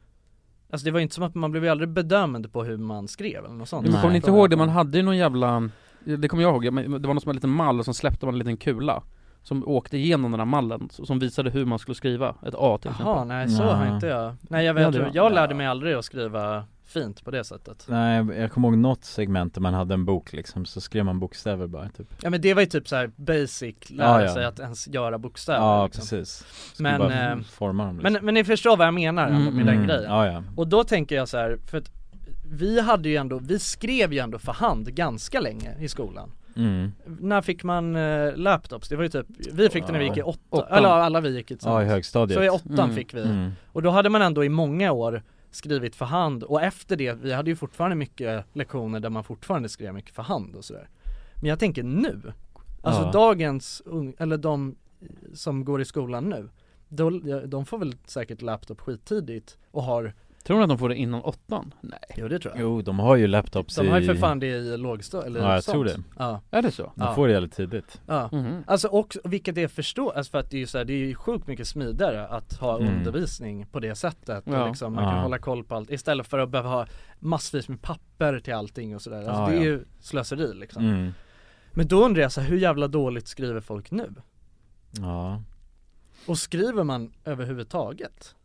Alltså det var ju inte som att man blev ju aldrig bedömd på hur man skrev eller något sånt Men Nej. kommer ni inte ihåg det? Man hade ju någon jävla, det kommer jag ihåg, men det var någon som hade en liten mall och som släppte man en liten kula Som åkte igenom den här mallen, så- som visade hur man skulle skriva ett A till exempel Jaha, nej så Ja. har inte jag Nej jag Ja, vet, det jag, var- lärde mig aldrig att skriva fint på det sättet Nej jag kommer ihåg något segment där man hade en bok liksom, så skrev man bokstäver bara typ. Ja men det var ju typ så här basic, Ja, lära ja. sig att ens göra bokstäver Ja liksom. precis. Skulle Men, bara eh, forma dem liksom. men, men ni förstår vad jag menar ändå med Mm, den Mm. grejen Ja ja. Och då tänker jag så här, för att vi hade ju ändå, vi skrev ju ändå för hand ganska länge i skolan Mm. När fick man eh, laptops? Det var ju typ, vi fick det när vi gick i åtta, Åttan. eller alla vi gick i Ja i tillsammans högstadiet. Så i åttan Mm. fick vi Mm. Och då hade man ändå i många år skrivit för hand och efter det, vi hade ju fortfarande mycket lektioner där man fortfarande skrev mycket för hand och sådär Men jag tänker nu, alltså Ja. dagens ung, eller de som går i skolan nu då, De får väl säkert laptop skittidigt och har, Tror ni att de får det innan åttan? Nej jo det tror jag Jo de har ju laptops De har ju för i- fan det i lågstadiet eller Ja, jag sånt. tror det. Ja, Är det så? De Ja. får det jävligt tidigt. ja Mhm. Alltså och vilket är förstå, alltså för att det är ju så här, det är ju sjukt mycket smidigare att ha Mm. undervisning på det sättet och Ja. liksom, man Ja. kan hålla koll på allt istället för att behöva ha massvis med papper till allting och sådär, alltså Ja, det är ja. ju slöseri liksom Mm. Men då undrar jag så här, hur jävla dåligt skriver folk nu? Ja. Och skriver man överhuvudtaget?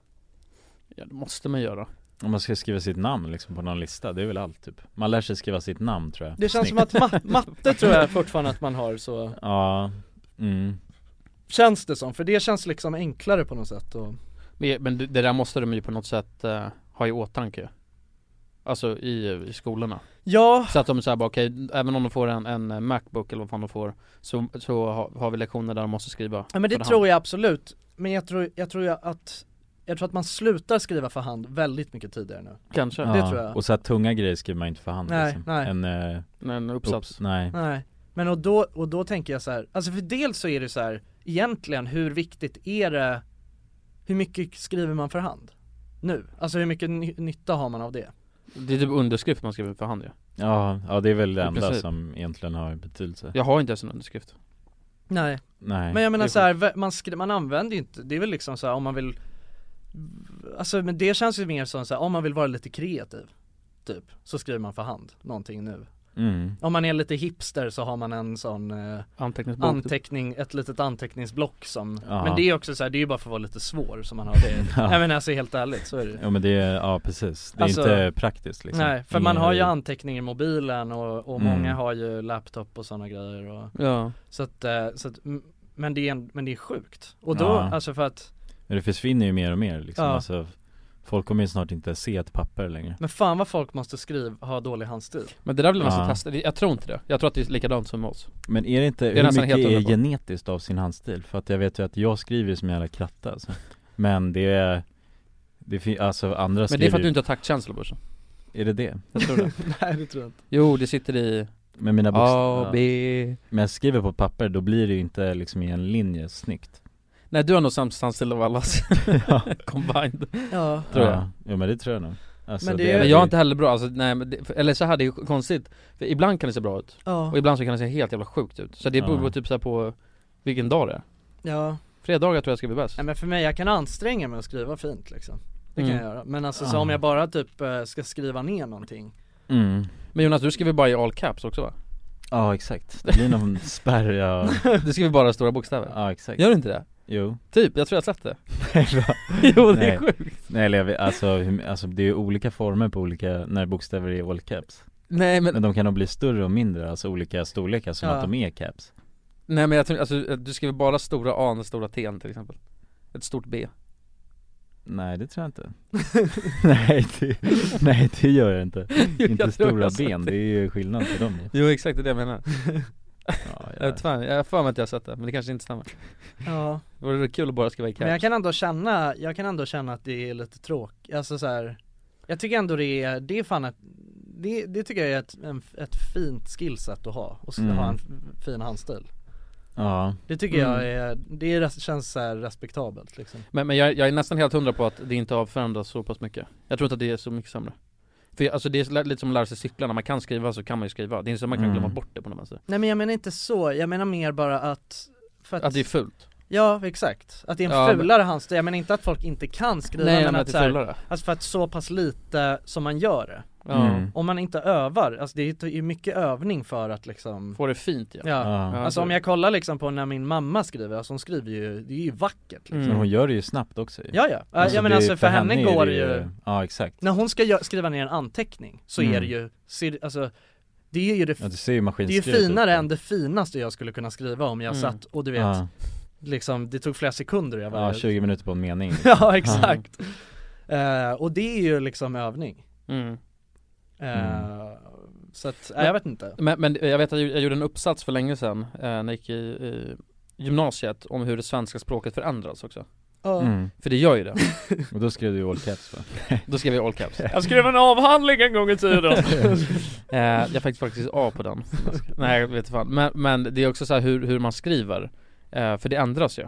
Ja det måste man göra Om man ska skriva sitt namn liksom på någon lista, det är väl allt typ. Man lär sig skriva sitt namn tror jag. Det känns Snyggt. som att ma- matte tror jag fortfarande att man har så, Ja. Mm. känns det som, för det känns liksom enklare på något sätt och, Men, men det, det där måste de ju på något sätt eh, ha i åtanke Alltså i, i skolorna Ja, Så att de säger bara okej, även om de får en, en Macbook eller vad fan de får Så, så ha, har vi lektioner där de måste skriva Ja men det tror jag absolut, men jag tror, jag tror ju att jag tror att man slutar skriva för hand väldigt mycket tidigare nu Kanske, ja. det tror jag. Och så här tunga grejer skriver man inte för hand Nej, liksom. nej. En eh, en uppsats ups, nej. Nej Men och då, och då tänker jag så här, alltså för dels så är det så här, egentligen hur viktigt är det, hur mycket skriver man för hand? Nu? Alltså hur mycket ny- nytta har man av det? Det är typ underskrift man skriver för hand ju Ja, ja det är väl det I enda princip. som egentligen har betydelse. Jag har inte ens en underskrift Nej Nej. Men jag menar det är så här, vä- man, skri- man använder ju inte, det är väl liksom så här om man vill Alltså men det känns ju mer som så här, om man vill vara lite kreativ Typ, så skriver man för hand, någonting nu Mm. Om man är lite hipster så har man en sån eh, Anteckningsbok typ. anteckning, ett litet anteckningsblock som Ja. Men det är också så här, det är ju bara för att vara lite svår som man har det Ja. Nej men alltså helt ärligt så är det ju. Ja men det är, ja precis. Det är Alltså- inte praktiskt liksom. Nej, för man har ju anteckningar i mobilen och, och Mm. många har ju laptop och sådana grejer och, Ja, så att, eh, så att mm, men det, är en, men det är sjukt. Och då, Ja. alltså för att Men det försvinner ju mer och mer liksom. Ja. Alltså, Folk kommer ju snart inte se ett papper längre Men fan vad folk måste skriva, ha dålig handstil Men det där vill man Ja. ja. testa, jag tror inte det. Jag tror att det är likadant som med oss Men är det inte, Det är hur nästan mycket helt är hundra på. genetiskt av sin handstil? För att jag vet ju att jag skriver som en jävla kratta alltså. Men det är, det fin, alltså andra Men det är skriver för att ju- du inte har taktkänslor Bursen Är det det? Jag tror det Nej det tror jag inte Jo, det sitter i Men mina A, bokstäver B Men jag skriver på papper, då blir det ju inte liksom i en linje snyggt Nej du har nog sämst handstil av alla combined Ja Tror jag. ja, Jo men det tror jag nog alltså, Men det är- är Men ju- jag är inte heller bra, alltså, nej, men det, för- eller så här det är ju konstigt för Ibland kan det se bra ut, Ja, och ibland så kan det se helt jävla sjukt ut Så det beror Ja. typ så här på vilken dag det är ja Fredagar tror jag ska bli bäst Nej men för mig, jag kan anstränga mig att skriva fint liksom Det kan Mm. jag göra, men alltså så om jag bara typ eh, ska skriva ner någonting mm. Men Jonas du skriver bara i all caps också va? Ja exakt, det blir någon spärr jag, Du skriver bara stora bokstäver ja exakt Gör du inte det? Jo Typ, jag tror jag har sett det Jo det Nej. är sjukt Nej eller jag vet, alltså, hur, alltså det är ju olika former på olika, när bokstäver är all caps Nej men, Men de kan nog bli större och mindre, alltså olika storlekar som Ja. att de är caps nej men jag tror, alltså du skriver bara stora A och stora T till exempel Ett stort B Nej det tror jag inte nej, det, nej det gör jag inte Jag Inte tror jag stora har sett ben, det. det är ju skillnad för dem ju Jo exakt, det är det jag menar ja, Jag vet fan, jag har för mig att jag har sett det, men det kanske inte stämmer Ja Det vore kul att bara skriva i Men jag caps kan ändå känna, jag kan ändå känna att det är lite tråkigt, alltså så här. Jag tycker ändå det är, det är fan ett, det, det tycker jag är ett, en, ett fint skillset att ha, och Mm. ha en f- fin handstil Ja, Det tycker jag Mm. är, det är, res- känns så här respektabelt liksom Men, men jag, jag är nästan helt hundra på att det inte har förändrats så pass mycket Jag tror inte att det är så mycket sämre För jag, alltså det är så lä- lite som att lära sig cykla, när man kan skriva så kan man ju skriva Det är inte så att man kan Mm. glömma bort det på något vänster Nej men jag menar inte så, jag menar mer bara att för att, Att det är fult Ja exakt, att det är en Ja, men- fulare handstil, jag menar inte att folk inte kan skriva Nej men men att, det så är här, fulare alltså för att så pass lite som man gör det Ja, Mm. Om man inte övar, alltså det är ju mycket övning för att liksom får det fint ja, Ja, ja. Ja, alltså om jag kollar liksom på när min mamma skriver, alltså hon skriver ju, det är ju vackert liksom. Mm. Men hon gör det ju snabbt också ju Ja ja, Äh, Alltså, jag menar det- alltså för, henne, är går det det ju, Ja exakt, när hon ska gö- skriva ner en anteckning så är Mm. det ju, ser, alltså det är ju det, ja, f- du ser ju det är ju maskinskrivet finare än det finaste jag skulle kunna skriva om jag Mm. satt och du vet, ja. liksom det tog flera sekunder jag var ja, 20 minuter på en mening ja exakt Eh, Och det är ju liksom övning mm. Eh, Så att, nej, jag vet inte Men, men jag vet att jag gjorde en uppsats för länge sedan eh, när jag gick i, i gymnasiet om hur det svenska språket förändras också mm. För det gör ju det, Och då skrev du ju all caps va? då skrev jag all caps Jag skrev en avhandling en gång i tiden Eh, jag fick faktiskt A på den Nej jag vet fan. Men, men det är också så här hur, hur man skriver eh, För det ändras ju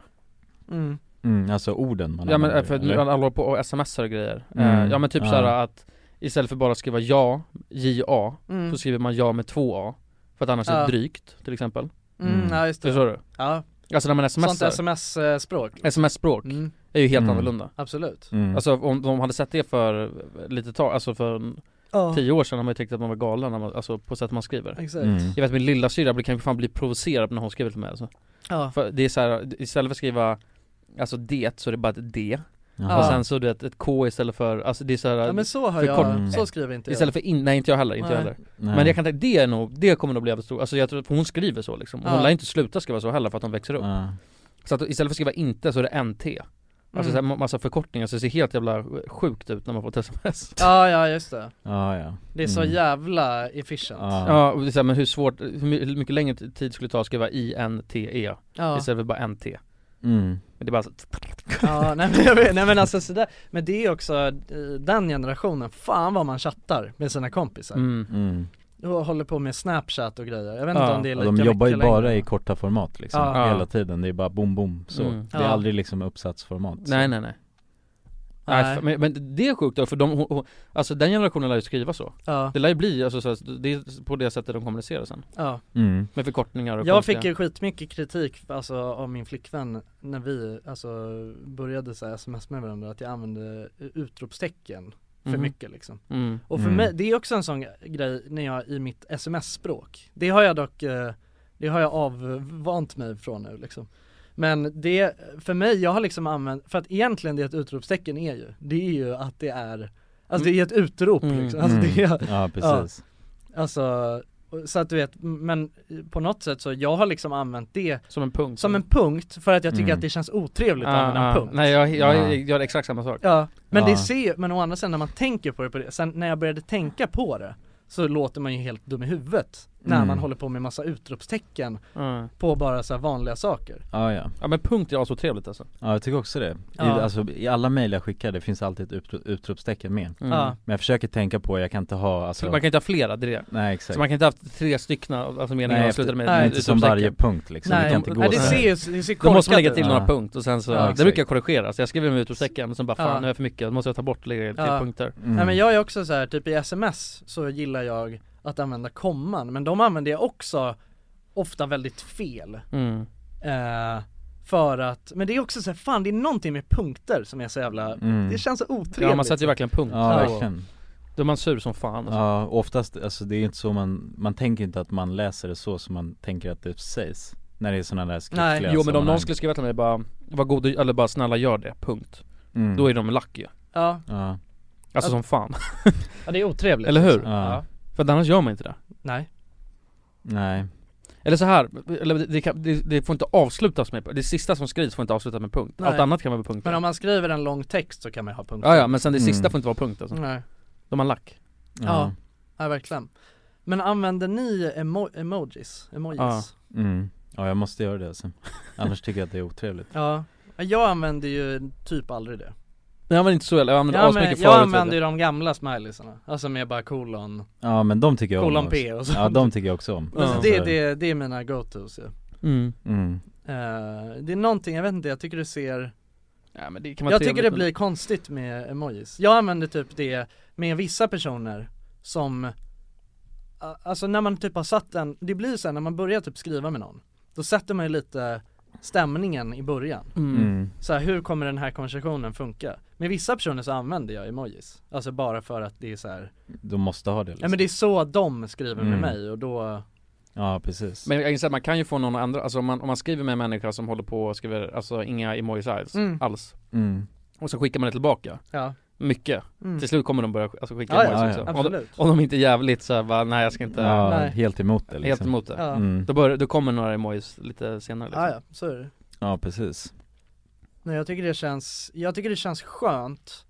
mm. Mm, alltså orden man Ja men eh, använder, för att nu eller? alla håller på och smsar och grejer Mm. eh, Ja men typ Ja. så här att Istället för bara att skriva ja, ja, Mm. så skriver man ja med två a För att annars är Ja. det drygt till exempel Mm, Mm. ja just det. Förstår du? Ja, Alltså när man smsar, sånt sms-språk. sms-språk Mm, är ju helt Mm. annorlunda absolut. mm. Alltså om de hade sett det för lite tag, alltså för en- Ja, tio år sedan hade man ju tyckt att man var galen, när man, alltså på sätt man skriver exakt. mm. Jag vet min lilla syra kan ju fan bli provocerad när hon skriver till mig alltså. Ja. För det är så här, istället för att skriva Alltså det, så är det bara ett D Jaha. Och sen så du vet, ett K istället för, alltså det är så här, ja, men så har för jag, kort- så skriver inte jag. Istället för in, nej inte jag heller, inte jag Nej. heller Nej. Men jag kan tänka, det är nog, det kommer nog bli jävligt stort, alltså jag tror, för hon skriver så liksom Och Hon Ja. lär inte sluta skriva så heller för att hon växer upp ja. Så att istället för att skriva inte så är det NT Alltså Mm. så här, ma- massa förkortningar, så det ser helt jävla sjukt ut när man får ett sms Ja, ja just det. Ja, ja. Det är så Mm. jävla efficient. Ja. Ja, och det är så här, men hur svårt, hur my- hur mycket längre t- tid skulle det ta att skriva INTE Ja, E istället för bara NT? Mm. Men det är bara så, ja nej, men, jag vet- nej men alltså sådär. Men det är också eh, den generationen, fan vad man chattar med sina kompisar. mm. Mm. Och håller på med snapchat och grejer. Jag vet Ja. inte om det är Ja, lika de jobbar ju mycket bara längre. i korta format liksom, Ja. hela tiden, det är bara bom bom så Mm. Det är Ja. aldrig liksom uppsatsformat så. Nej nej nej Nej. Nej. fan, Men, men det är sjukt då, för de, hon- hon- alltså den generationen lär ju skriva så Ja, Det lär ju bli, alltså så, här, det är på det sättet de kommunicerar sen ja. mm. Med förkortningar och Jag konstiga- fick ju skitmycket kritik alltså, av min flickvän när vi alltså, började så här, sms med varandra att jag använde eh, utropstecken för Mhm. mycket liksom. mm. Och för Mm. mig, det är också en sån grej när jag i mitt sms-språk. Det har jag dock, eh, det har jag avvant mig från nu liksom. Men det, för mig, jag har liksom använt, för att egentligen det ett utropstecken är ju, det är ju att det är Alltså det är ett utrop Mm. liksom, alltså, det är, Ja precis alltså Och Så att du vet, m- men på något sätt så jag har liksom använt det Som en punkt Som en punkt för att jag tycker Mm. att det känns otrevligt att Ah, använda en ah. punkt Nej jag, Ja. jag, jag gör exakt samma sak Ja, men det Ja. ser ju, men å andra sidan när man tänker på det på det, sen när jag började tänka på det så låter man ju helt dum i huvudet när Mm. man håller på med massa utropstecken Mm. på bara så här vanliga saker. Ja, ja. Ja men punkt är så trevligt alltså ja, jag tycker också det. I, Ja. alltså, I alla mejl jag skickar, det finns alltid ett utro- utropstecken med. Mm. Ja. Men jag försöker tänka på, jag kan inte ha alltså, Man kan inte ha flera, det är det. Nej exakt. Så man kan inte ha haft tre stycken, alltså meningen nej, man slutade med nej, ett inte som utropstecken. varje punkt liksom. Nej, det kan inte gå nej, det så här. ser ju, det ser Då måste man korkat lägga ut. till några Ja. punkt och sen så, Ja, det exakt. brukar korrigeras. Jag skriver med utropstecken och sen bara fan Ja. nu är jag för mycket, då måste jag ta bort och lägga till Ja. punkter. Mm. Nej men jag är också så här, typ i sms så gillar jag att använda komman, men de använder jag också ofta väldigt fel. Mm. Eh, för att, men det är också så här, fan det är någonting med punkter som är så jävla, Mm. det känns så otrevligt. Ja man sätter ju verkligen punkt. Ja Ja. verkligen. Alltså. Då är man sur som fan. Alltså. Ja oftast, alltså det är inte så man, man tänker inte att man läser det så som man tänker att det sägs. När det är sådana där skriftliga Nej. Jo men om sammanhang. någon skulle skriva till mig bara, var god och- eller bara snälla gör det, punkt. mm. Då är de lack ju. ja. Ja, Alltså som fan. ja, det är otrevligt. Eller hur? ja. För att annars gör man inte det. Nej. Nej. Eller så här, eller det, kan, det, det får inte avslutas med, det sista som skrivs får inte avslutas med punkt. Nej. Allt annat kan man med punkter. Men om man skriver en lång text så kan man ju ha punkter. Ja, ja men sen det sista Mm. får inte vara punkt alltså. Nej. Då är man lack. Ja. ja, verkligen. Men använder ni emo- emojis? Emojis? Ja. Mm. Ja jag måste göra det alltså. Annars tycker jag att det är otrevligt. ja. Jag använder ju typ aldrig det. Nej jag var inte så jävla, jag använde Jag, använder, asmycket jag förut. använder ju de gamla smileysarna, alltså med bara kolon, Ja men de tycker jag om kolon också. P och sånt. Ja de tycker jag också om. Men Så- Ja. det, det, det är mina go-tos ju. Mm. Mm. Eh, det är någonting, jag vet inte, jag tycker du ser Ja, men det kan vara Jag tycker det trevligt, men- blir konstigt med emojis Jag använder typ det med vissa personer som a- Alltså när man typ har satt en, det blir så här, när man börjar typ skriva med någon Då sätter man ju lite stämningen i början Mm. Så här, hur kommer den här konversationen funka? Med vissa personer så använder jag emojis Alltså bara för att det är så här. De måste ha det liksom. ja men det är så de skriver med Mm. mig och då Ja precis. Men jag inser att man kan ju få någon andra, alltså om man, om man skriver med en människa som håller på och skriver, alltså inga emojis alls, Mm. alls. Mm. Och så skickar man det tillbaka, Ja, mycket. mm. Till slut kommer de börja sk- alltså, skicka Ja, ja, emojis ja, också. ja. Om, de, absolut om de inte är jävligt såhär bara, nej jag ska inte, Ja, Nej. helt emot det liksom. helt emot det. Ja, Mm. Då, börjar, då kommer några emojis lite senare liksom. ja, ja så är det Ja precis. Nej jag tycker det känns, jag tycker det känns skönt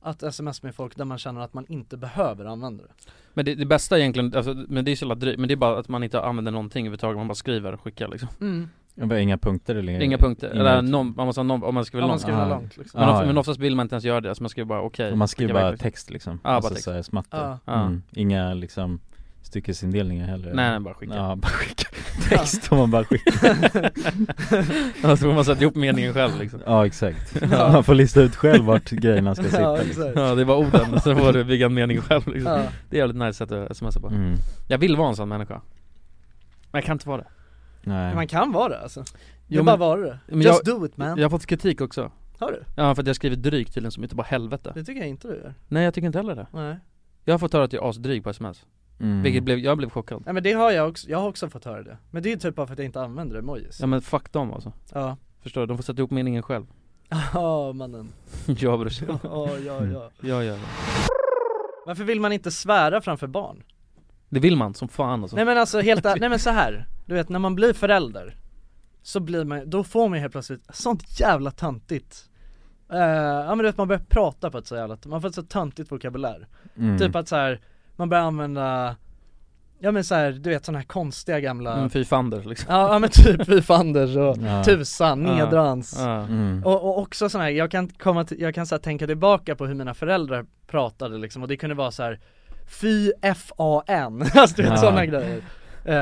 att sms med folk där man känner att man inte behöver använda det Men det, det bästa egentligen, alltså, men det är så jävla drygt, men det är bara att man inte använder någonting överhuvudtaget, man bara skriver och skickar liksom. Det var inga punkter eller Inga punkter, inga- eller någon, man måste ha någon, om man skriver Om man långt. skriver Eh, Ja. långt liksom Men, Ja, of, ja. men oftast vill man inte ens göra det, så man skriver bara okej. Och man skriver skicka iväg bara det. text liksom. Ja, bara text. Ah. Så här, smatter. Ja. Ja. Mm. Inga liksom styckesindelningar heller. Nej, nej, bara skicka. Ja, bara skicka. Text om man bara skickar. Annars får man sätta ihop meningen själv liksom Ja exakt. Man får lista ut själv vart grejerna ska sitta. Ja, liksom. exakt. Ja det var orden, så får du bygga en mening själv liksom. Ja. Det är jävligt nice sätt att smsa på Mm. Jag vill vara en sån människa Men jag kan inte vara det Nej. Man kan vara det alltså, det Jo, är bara men- vara det men Just do it man, Jag har fått kritik också har du? Ja för att jag skriver dryg tydligen som inte bara helvete Det tycker jag inte du gör, Nej jag tycker inte heller det nej Jag har fått höra att jag är asdryg på sms Mm. Vilket blev, jag blev chockad Nej men det har jag också, jag har också fått höra det Men det är typ bara för att jag inte använder emojis Ja men fuck dem alltså Ja, Förstår du? De får sätta ihop meningen själv ja mannen, Ja brorsan ja ja ja Ja ja Varför vill man inte svära framför barn? Det vill man som fan alltså Nej men alltså helt ärligt, nej men så här. Du vet när man blir förälder Så blir man, då får man ju helt plötsligt sånt jävla töntigt Eh, Ja men du vet man börjar prata på ett så jävla, man får ett så töntigt vokabulär Mm. Typ att så här, man börjar använda Ja men så här, du vet såna här konstiga gamla mm, Fy fander liksom ja, ja men typ vi fanders och Ja. tusan, Ja. nedrans ja. Mm. och, och också sån här, jag kan komma till, jag kan så här, tänka tillbaka på hur mina föräldrar pratade liksom och det kunde vara så här Fy F-A-N, alltså du vet Ja. sådana grejer Eh,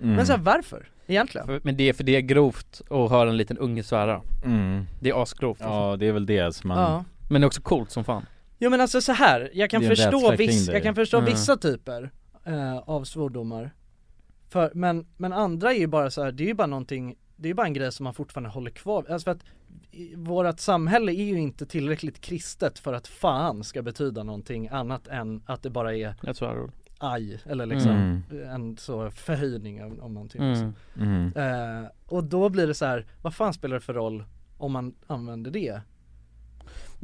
Mm. Men så här, varför? Egentligen? För- Men det är för det är grovt att höra en liten unge svära Mm. Det är asgrovt alltså. Ja det är väl det som man Ja Men det är också coolt som fan Jo men alltså så här, jag kan Det är en förstå, rädsla kring viss, det. jag kan förstå Mm. vissa typer eh, av svordomar för, men, men andra är ju bara så här, det är ju bara någonting Det är ju bara en grej som man fortfarande håller kvar Alltså för att i- vårat samhälle är ju inte tillräckligt kristet för att fan ska betyda någonting annat än att det bara är Jag svär aj eller liksom Mm. en så förhöjning av, av någonting liksom. mm. Mm. Eh, och då blir det så här, vad fan spelar det för roll om man använder det?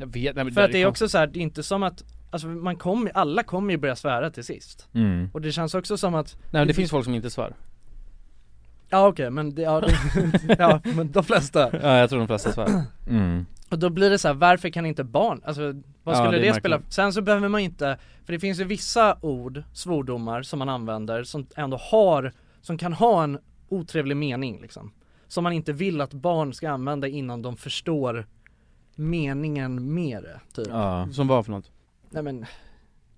Jag vet, nej, men För att det är kon- också så här, det är inte som att alltså man kommer, alla kommer ju börja svära till sist. Mm. Och det känns också som att Nej men det finns folk som inte svär Ja okej men det, ja, det, ja men de flesta Ja jag tror de flesta svär Mm. Och då blir det så här, varför kan inte barn, alltså Ja, vad skulle det är det, spela, märkligt. sen så behöver man ju inte, för det finns ju vissa ord, svordomar som man använder som ändå har, som kan ha en otrevlig mening liksom. Som man inte vill att barn ska använda innan de förstår meningen med det, typ. Ja. Som var för något? Nej men,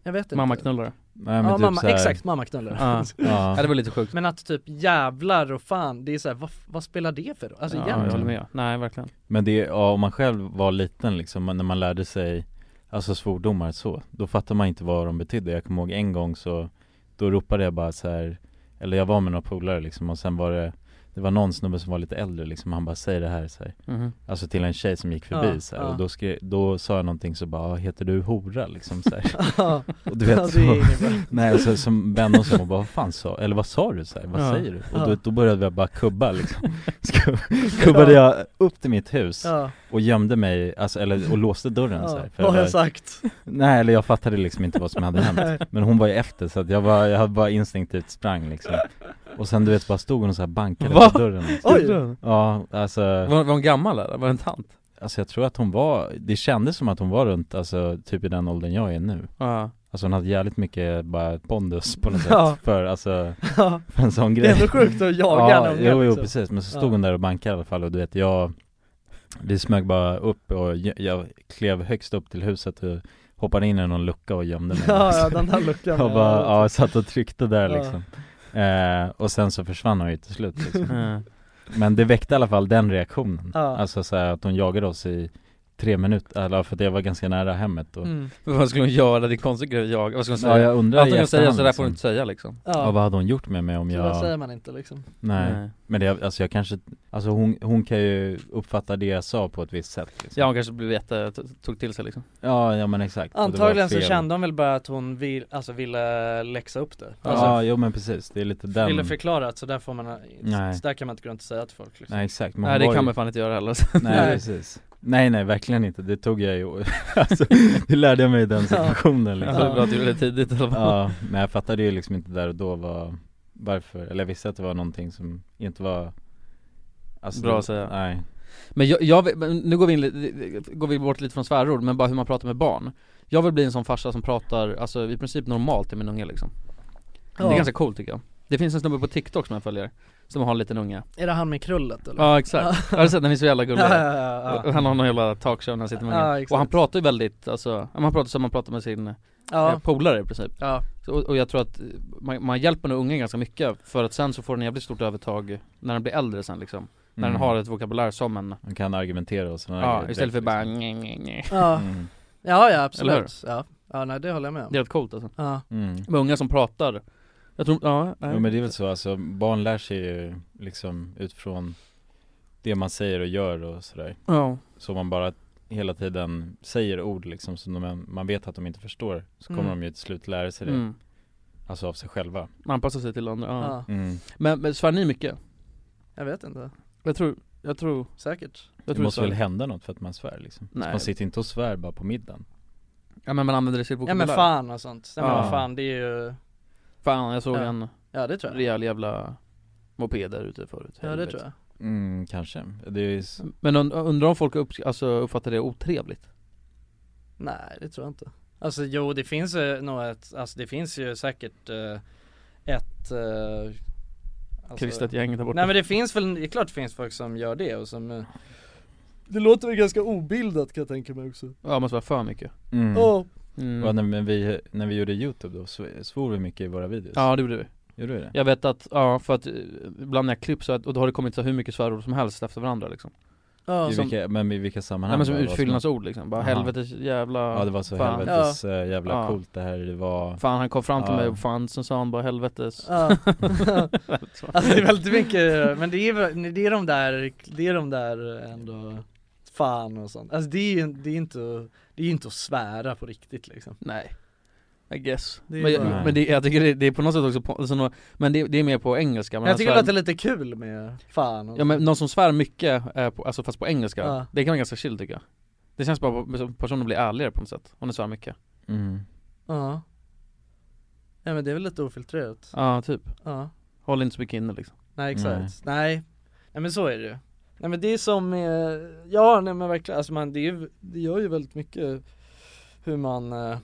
jag vet inte. Mamma knullare? Nej, men ja, typ mamma, så här- exakt, mamma knullar. Ja. Ja. ja det var lite sjukt Men att typ jävlar och fan, det är så här, vad, vad spelar det för roll? Alltså ja, egentligen. jag håller med, nej verkligen Men det, ja, om man själv var liten liksom, när man lärde sig Alltså svordomar så, då fattar man inte vad de betydde Jag kommer ihåg en gång så Då ropade jag bara så här Eller jag var med några polare liksom och sen var det Det var någon snubbe som var lite äldre liksom, han bara säger det här så här. Mhm. Alltså till en tjej som gick förbi Ja, så här, ja. och då, skrev, då sa jag någonting så bara, "Ah, heter du hora liksom så här. Ja. Och du vet Ja, det är så, inget bra. nej alltså som Ben och så, hon bara, vad fan sa, eller vad sa du så här, vad Ja. säger du? Och Ja. då, då började jag bara kubba liksom Kubbade jag upp till mitt hus Ja, och gömde mig, alltså, eller, och låste dörren så här, ja. för Vad har jag jag var, sagt? Nej eller jag fattade liksom inte vad som hade hänt Men hon var ju efter så att jag bara, jag hade bara instinktivt sprang liksom Och sen du vet bara stod hon och så här bankade Va? på dörren liksom. Oj! Ja alltså, Var, var hon gammal eller? Var det en tant? alltså jag tror att hon var, det kändes som att hon var runt alltså typ i den åldern jag är nu Ja Alltså hon hade jävligt mycket bara pondus på något sätt Ja. för alltså, Ja. för en sån grej Det är ändå sjukt att jaga Ja, en unge jo, jo liksom. precis, men så stod Ja. hon där och bankade i alla fall och du vet jag Vi smög bara upp och jag, jag klev högst upp till huset och hoppade in i någon lucka och gömde mig Ja, ja liksom. den där luckan Och bara, ja, satt och tryckte där Ja. liksom eh, Och sen så försvann hon ju till slut liksom. Mm. Men det väckte i alla fall den reaktionen Ja. Alltså så här, att hon jagade oss i tre minuter, eller för att jag var ganska nära hemmet och Mm. Vad skulle hon göra? Det är konstigt grej att jaga, vad ska hon säga? Ja jag undrar Allt i hon kan säga efterhand, sådär liksom. får hon inte säga liksom Ja, Ja vad hade hon gjort med mig om så vad säger jag, man inte liksom nej Men det, alltså jag kanske, alltså hon, hon kan ju uppfatta det jag sa på ett visst sätt liksom. Ja hon kanske blev jätte, t- tog till sig liksom ja, ja men exakt Och det var Antagligen så fel. kände hon väl bara att hon vill, alltså ville läxa upp det Ja, alltså, jo men precis, det är lite den Ville förklara att så där får man, Nej. så där kan man inte gå runt och säga till folk liksom. Nej exakt, men Nej hon det var kan ju... man fan inte göra heller Nej Nej. precis Nej nej verkligen inte, det tog jag ju, alltså, det lärde jag mig i den situationen Ja. liksom. Det är bra att du gjorde det tidigt eller vad? Ja, men jag fattade ju liksom inte där och då vad, varför, eller jag visste att det var någonting som inte var alltså, Bra att säga. Nej Men jag, jag vill- men nu går vi, in, lite- går vi bort lite från svärord, men bara hur man pratar med barn Jag vill bli en sån farsa som pratar, alltså i princip normalt till min unge liksom Det är ganska coolt tycker jag Det finns en snubbe på TikTok som jag följer, som har en liten unge Är det han med krullet eller? Ja exakt, jag har du sett den är så jävla gullig ja, ja, ja, ja. Han har någon jävla talkshow när han sitter med Ja, ungen. exakt. Och han pratar ju väldigt, alltså, ja, man pratar som man pratar med sin eh, ja. polare i princip ja. så, och, och jag tror att eh, man, man hjälper nog ungen ganska mycket, för att sen så får den jävligt stort övertag när den blir äldre sen liksom När Mm. den har ett vokabulär som en, Mm. Man kan argumentera och sådana ja grejer istället för direkt, bara nj, nj, nj. ja. mm. ja, ja Eller hur? absolut ja. ja, nej det håller jag med om Det är rätt coolt alltså Ja, Mm. Med unga som pratar Jag tror, ja, nej. Jo men det är väl så, alltså barn lär sig ju liksom utifrån det man säger och gör och sådär ja. Så om man bara hela tiden säger ord liksom som de, man vet att de inte förstår Så kommer Mm. de ju till slut lära sig det, Mm. alltså av sig själva Man anpassar sig till andra, ja. ja. mm. Men, men svär ni mycket? jag vet inte, Jag tror, jag tror, säkert jag tror Det måste svär- väl hända något för att man svär liksom Nej. Man sitter inte och svär bara på middagen Ja men man använder det i sitt Ja vokabulär men fan och sånt, nej men Ja. vad fan det är ju, Fan, jag såg Ja. en ja det tror jag rejäl jävla moped där ute förut Ja det Helvete. tror jag mm, kanske, det är s- Men und- undrar om folk upp, alltså, uppfattar det otrevligt? Alltså, Nej det tror jag inte Alltså jo det finns eh, nog ett, alltså det finns ju säkert eh, ett eh, alltså- Kristet gäng där borta Nej men det finns väl, det är klart det finns folk som gör det och som eh, Det låter väl ganska obildat kan jag tänka mig också Ja man svär för mycket mm. Ja mm. Ja, när, men vi, när vi gjorde youtube då sv- svor vi mycket i våra videos Ja det gjorde vi Gjorde vi det? Jag vet att, ja för att eh, ibland när jag klipps så att, och då har det kommit så här hur mycket svärord som helst efter varandra liksom Ja, I som, vilka, men i vilka sammanhang? Nej men som var det? Vad utfyllnadsord liksom, bara Aha. helvete jävla Ja det var så fan. helvetes eh, jävla Ja. coolt det här, det var Fan han kom fram till Ja. mig och fan sen sa han bara helvetes ja Alltså det är väldigt mycket, men det är, väl- det är de där, det är de där eh, ändå Fan och sånt, alltså det är ju det är inte, det är ju inte att svära på riktigt liksom Nej I guess Det är Men, bara- jag, men det, jag tycker det, det är på något sätt också på, alltså, nå- Men det, det är mer på engelska men Jag tycker han det svär- låter lite kul med fan och Ja men någon som svär mycket, eh, på, alltså fast på engelska, Ja. det kan vara ganska chill tycker jag Det känns bara som att personen blir ärligare på något sätt, om den svär mycket Mm. Ja Nej men det är väl lite ofiltrerat Ja, typ Ja Håll inte så mycket inne liksom Nej exakt, nej. nej men så är det ju Nej men det är som, eh, ja nej men verkligen, alltså man, det, är, ju- det gör ju väldigt mycket hur man, eh,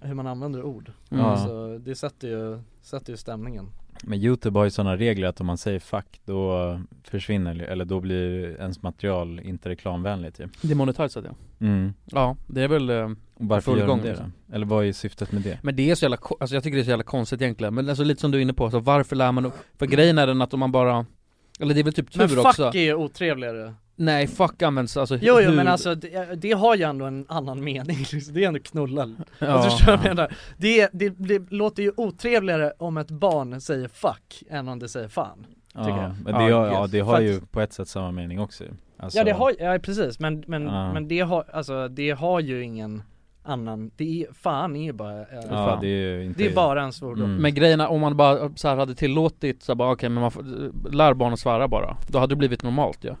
hur man använder ord Ja. Mm. alltså, det sätter ju, sätter ju stämningen Men youtube har ju sådana regler att om man säger fuck då försvinner, eller då blir ens material inte reklamvänligt ju Det är monetariserat ja mm. Ja, det är väl eh, Och varför full gör gång, de det liksom. då? Eller vad är syftet med det? Men det är så jävla, ko- alltså jag tycker det är så jävla konstigt egentligen Men alltså lite som du är inne på, alltså varför lär man upp? För grejen är den att om man bara Eller det är väl typ tur Mm. Men fuck också är ju otrevligare Nej fuck används alltså Jo jo hur- men alltså det, det har ju ändå en annan mening liksom. det är ändå knulla Ja. Alltså förstår du vad jag menar? Det, det, det låter ju otrevligare om ett barn säger fuck än om det säger fan Ja, tycker jag. men det, har, ja, yes. det har ju Faktiskt. på ett sätt samma mening också ju. alltså, Ja det har, ja precis men, men, Ja. men det har, alltså det har ju ingen annan, det är, fan är ju bara eh, Ja fan. det är ju inte Det är bara en svordom Mm. Men grejen är, om man bara så här hade tillåtit så här, bara okej men man får, lär barn att svära bara Då hade det blivit normalt ja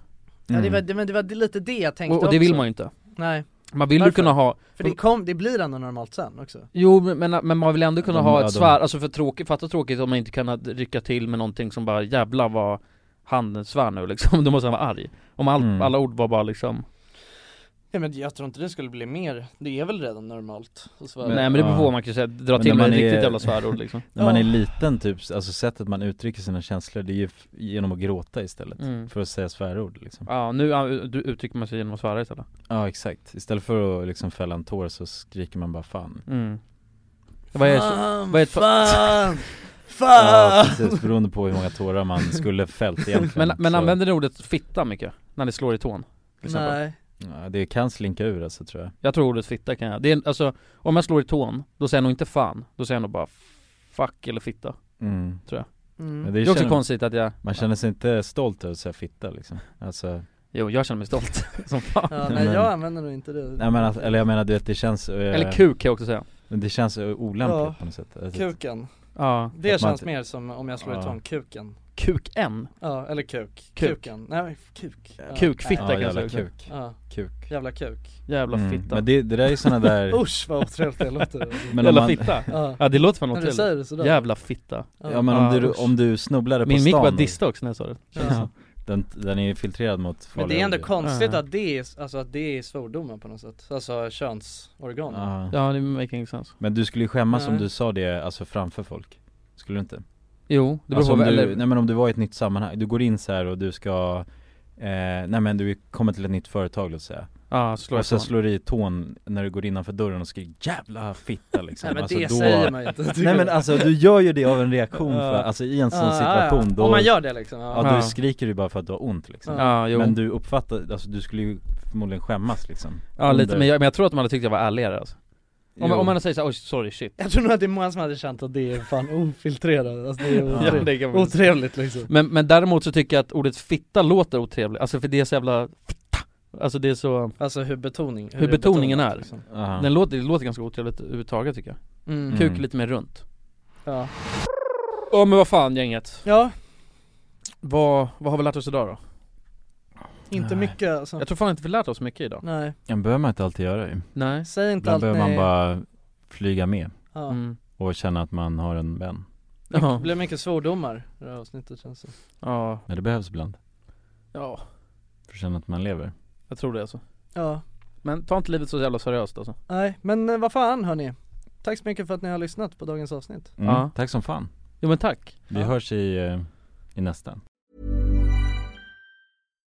ja, Mm. det, var, det, men det var lite det jag tänkte Mm. och, och det vill också. man ju inte Nej, Man vill ju Varför? kunna ha för det, kom, det blir ändå normalt sen också Jo men, men- men man vill ändå kunna De- ha ja, ett de- svär, alltså för tråkigt, fatta tråkigt om man inte kan att rycka till med någonting som bara jävlar vad han svär nu liksom, då måste han vara arg Om allt, Mm. alla ord var bara liksom Ja men jag tror inte det skulle bli mer, det är väl redan normalt att svära Nej men det beror på Ja. vad man kan säga, dra Men till när med man ett är- riktigt jävla svärord liksom När man Ja. är liten typ, alltså sättet man uttrycker sina känslor det är ju f- genom att gråta istället Mm. För att säga svärord liksom Ja nu ja, du uttrycker man sig genom att svära istället Ja exakt, istället för att liksom fälla en tår så skriker man bara fan mm. Vad är så? Fan, vad är ett- fan, Ja fan! precis, beroende på hur många tårar man skulle fällt egentligen Ah! Men, men så- använder ni ordet fitta mycket? När ni slår i tån? Till exempel. Nej, ja, Det kan slinka ur alltså tror jag Jag tror ordet fitta kan jag, det är, alltså om jag slår i tån, då säger jag nog inte fan, då säger jag nog bara fuck eller fitta mm. mm. Men Det det är också känner, konstigt att jag, Man känner sig inte stolt över att säga fitta liksom Alltså jo jag känner mig stolt som fan Ja, nej Men- jag använder nog inte det Nej men alltså, eller jag menar du vet det känns eh, Eller kuk kan jag också säga men Det känns eh, olämpligt Ja. på något sätt Alltså, Kuken, Ja, det Att känns man inte- mer som om jag slår Ja. i tån, kuken kuk en Ja, eller kuk, Kuk. kuken, nej kuk ja. Kukfitta Ja kan jag jävla säga också. kuk, Ja, kuk jävla kuk Jävla Mm, fitta Men det, det där är ju såna där Usch vad otrevligt det låter men om Jävla man, fitta? Ja, Ja det låter fan när du något säger till det sådär Jävla fitta Ja men om Ja, du, usch. om du snubblade på Min stan mick bara dista också när jag sa det Ja. den, den är ju filtrerad mot farliga Men det är ändå ord. konstigt Ja. att det är, alltså att det är svordomar på något sätt, alltså könsorgan Ja. Ja det making ingen sense Men du skulle ju skämmas om Nej. du sa det alltså framför folk Skulle du inte? Jo, det beror alltså, på, om du, eller, Nej men om du var i ett nytt sammanhang, du går in så här och du ska eh, Nej men du kommer till ett nytt företag låt säga ja slår Och jag sen tån slår du i tån när du går innanför dörren och skriker 'Jävla fitta' liksom Nej men alltså, det då- säger man ju inte tycker Nej men jag. alltså du gör ju det av en reaktion för, Ja. alltså i en sån Ja, ja, ja. situation då Om man gör det liksom, Ja, ja, då Ja. skriker du bara för att du har ont liksom Ja jo, Men du uppfattar, alltså du skulle ju förmodligen skämmas liksom ja lite under- men jag, men jag tror att de hade tyckt jag var ärligare alltså. om, Jo. om man säger såhär, oj sorry shit Jag tror nog att det är många som hade känt att det är fan ofiltrerat, alltså det är Ja. otrevligt, det kan man- otrevligt liksom men, men däremot så tycker jag att ordet fitta låter otrevligt, alltså för det är så jävla fitta Alltså det är så, Alltså hur betoning, Hur det är betoningen betonat, är. liksom. Ja. den låter, det låter ganska otrevligt överhuvudtaget tycker jag mm. Kuk är lite mer runt ja. Ja men vad fan gänget, ja, vad, vad har vi lärt oss idag då? inte Nej. mycket alltså. Jag tror fan inte vi lärt oss mycket idag Nej, Den behöver man inte alltid göra ju Nej säg inte Ibland allt behöver man nej. bara flyga med ja. mm. och känna att man har en vän Det Ja, blev mycket svordomar i det här avsnittet känns det ja, Men det behövs ibland ja, för att känna att man lever jag tror det alltså Ja, Men ta inte livet så jävla seriöst alltså nej men eh, vad fan hörni Tack så mycket för att ni har lyssnat på dagens avsnitt mm. Ja. Tack som fan Jo men tack Vi hörs i, eh, i nästa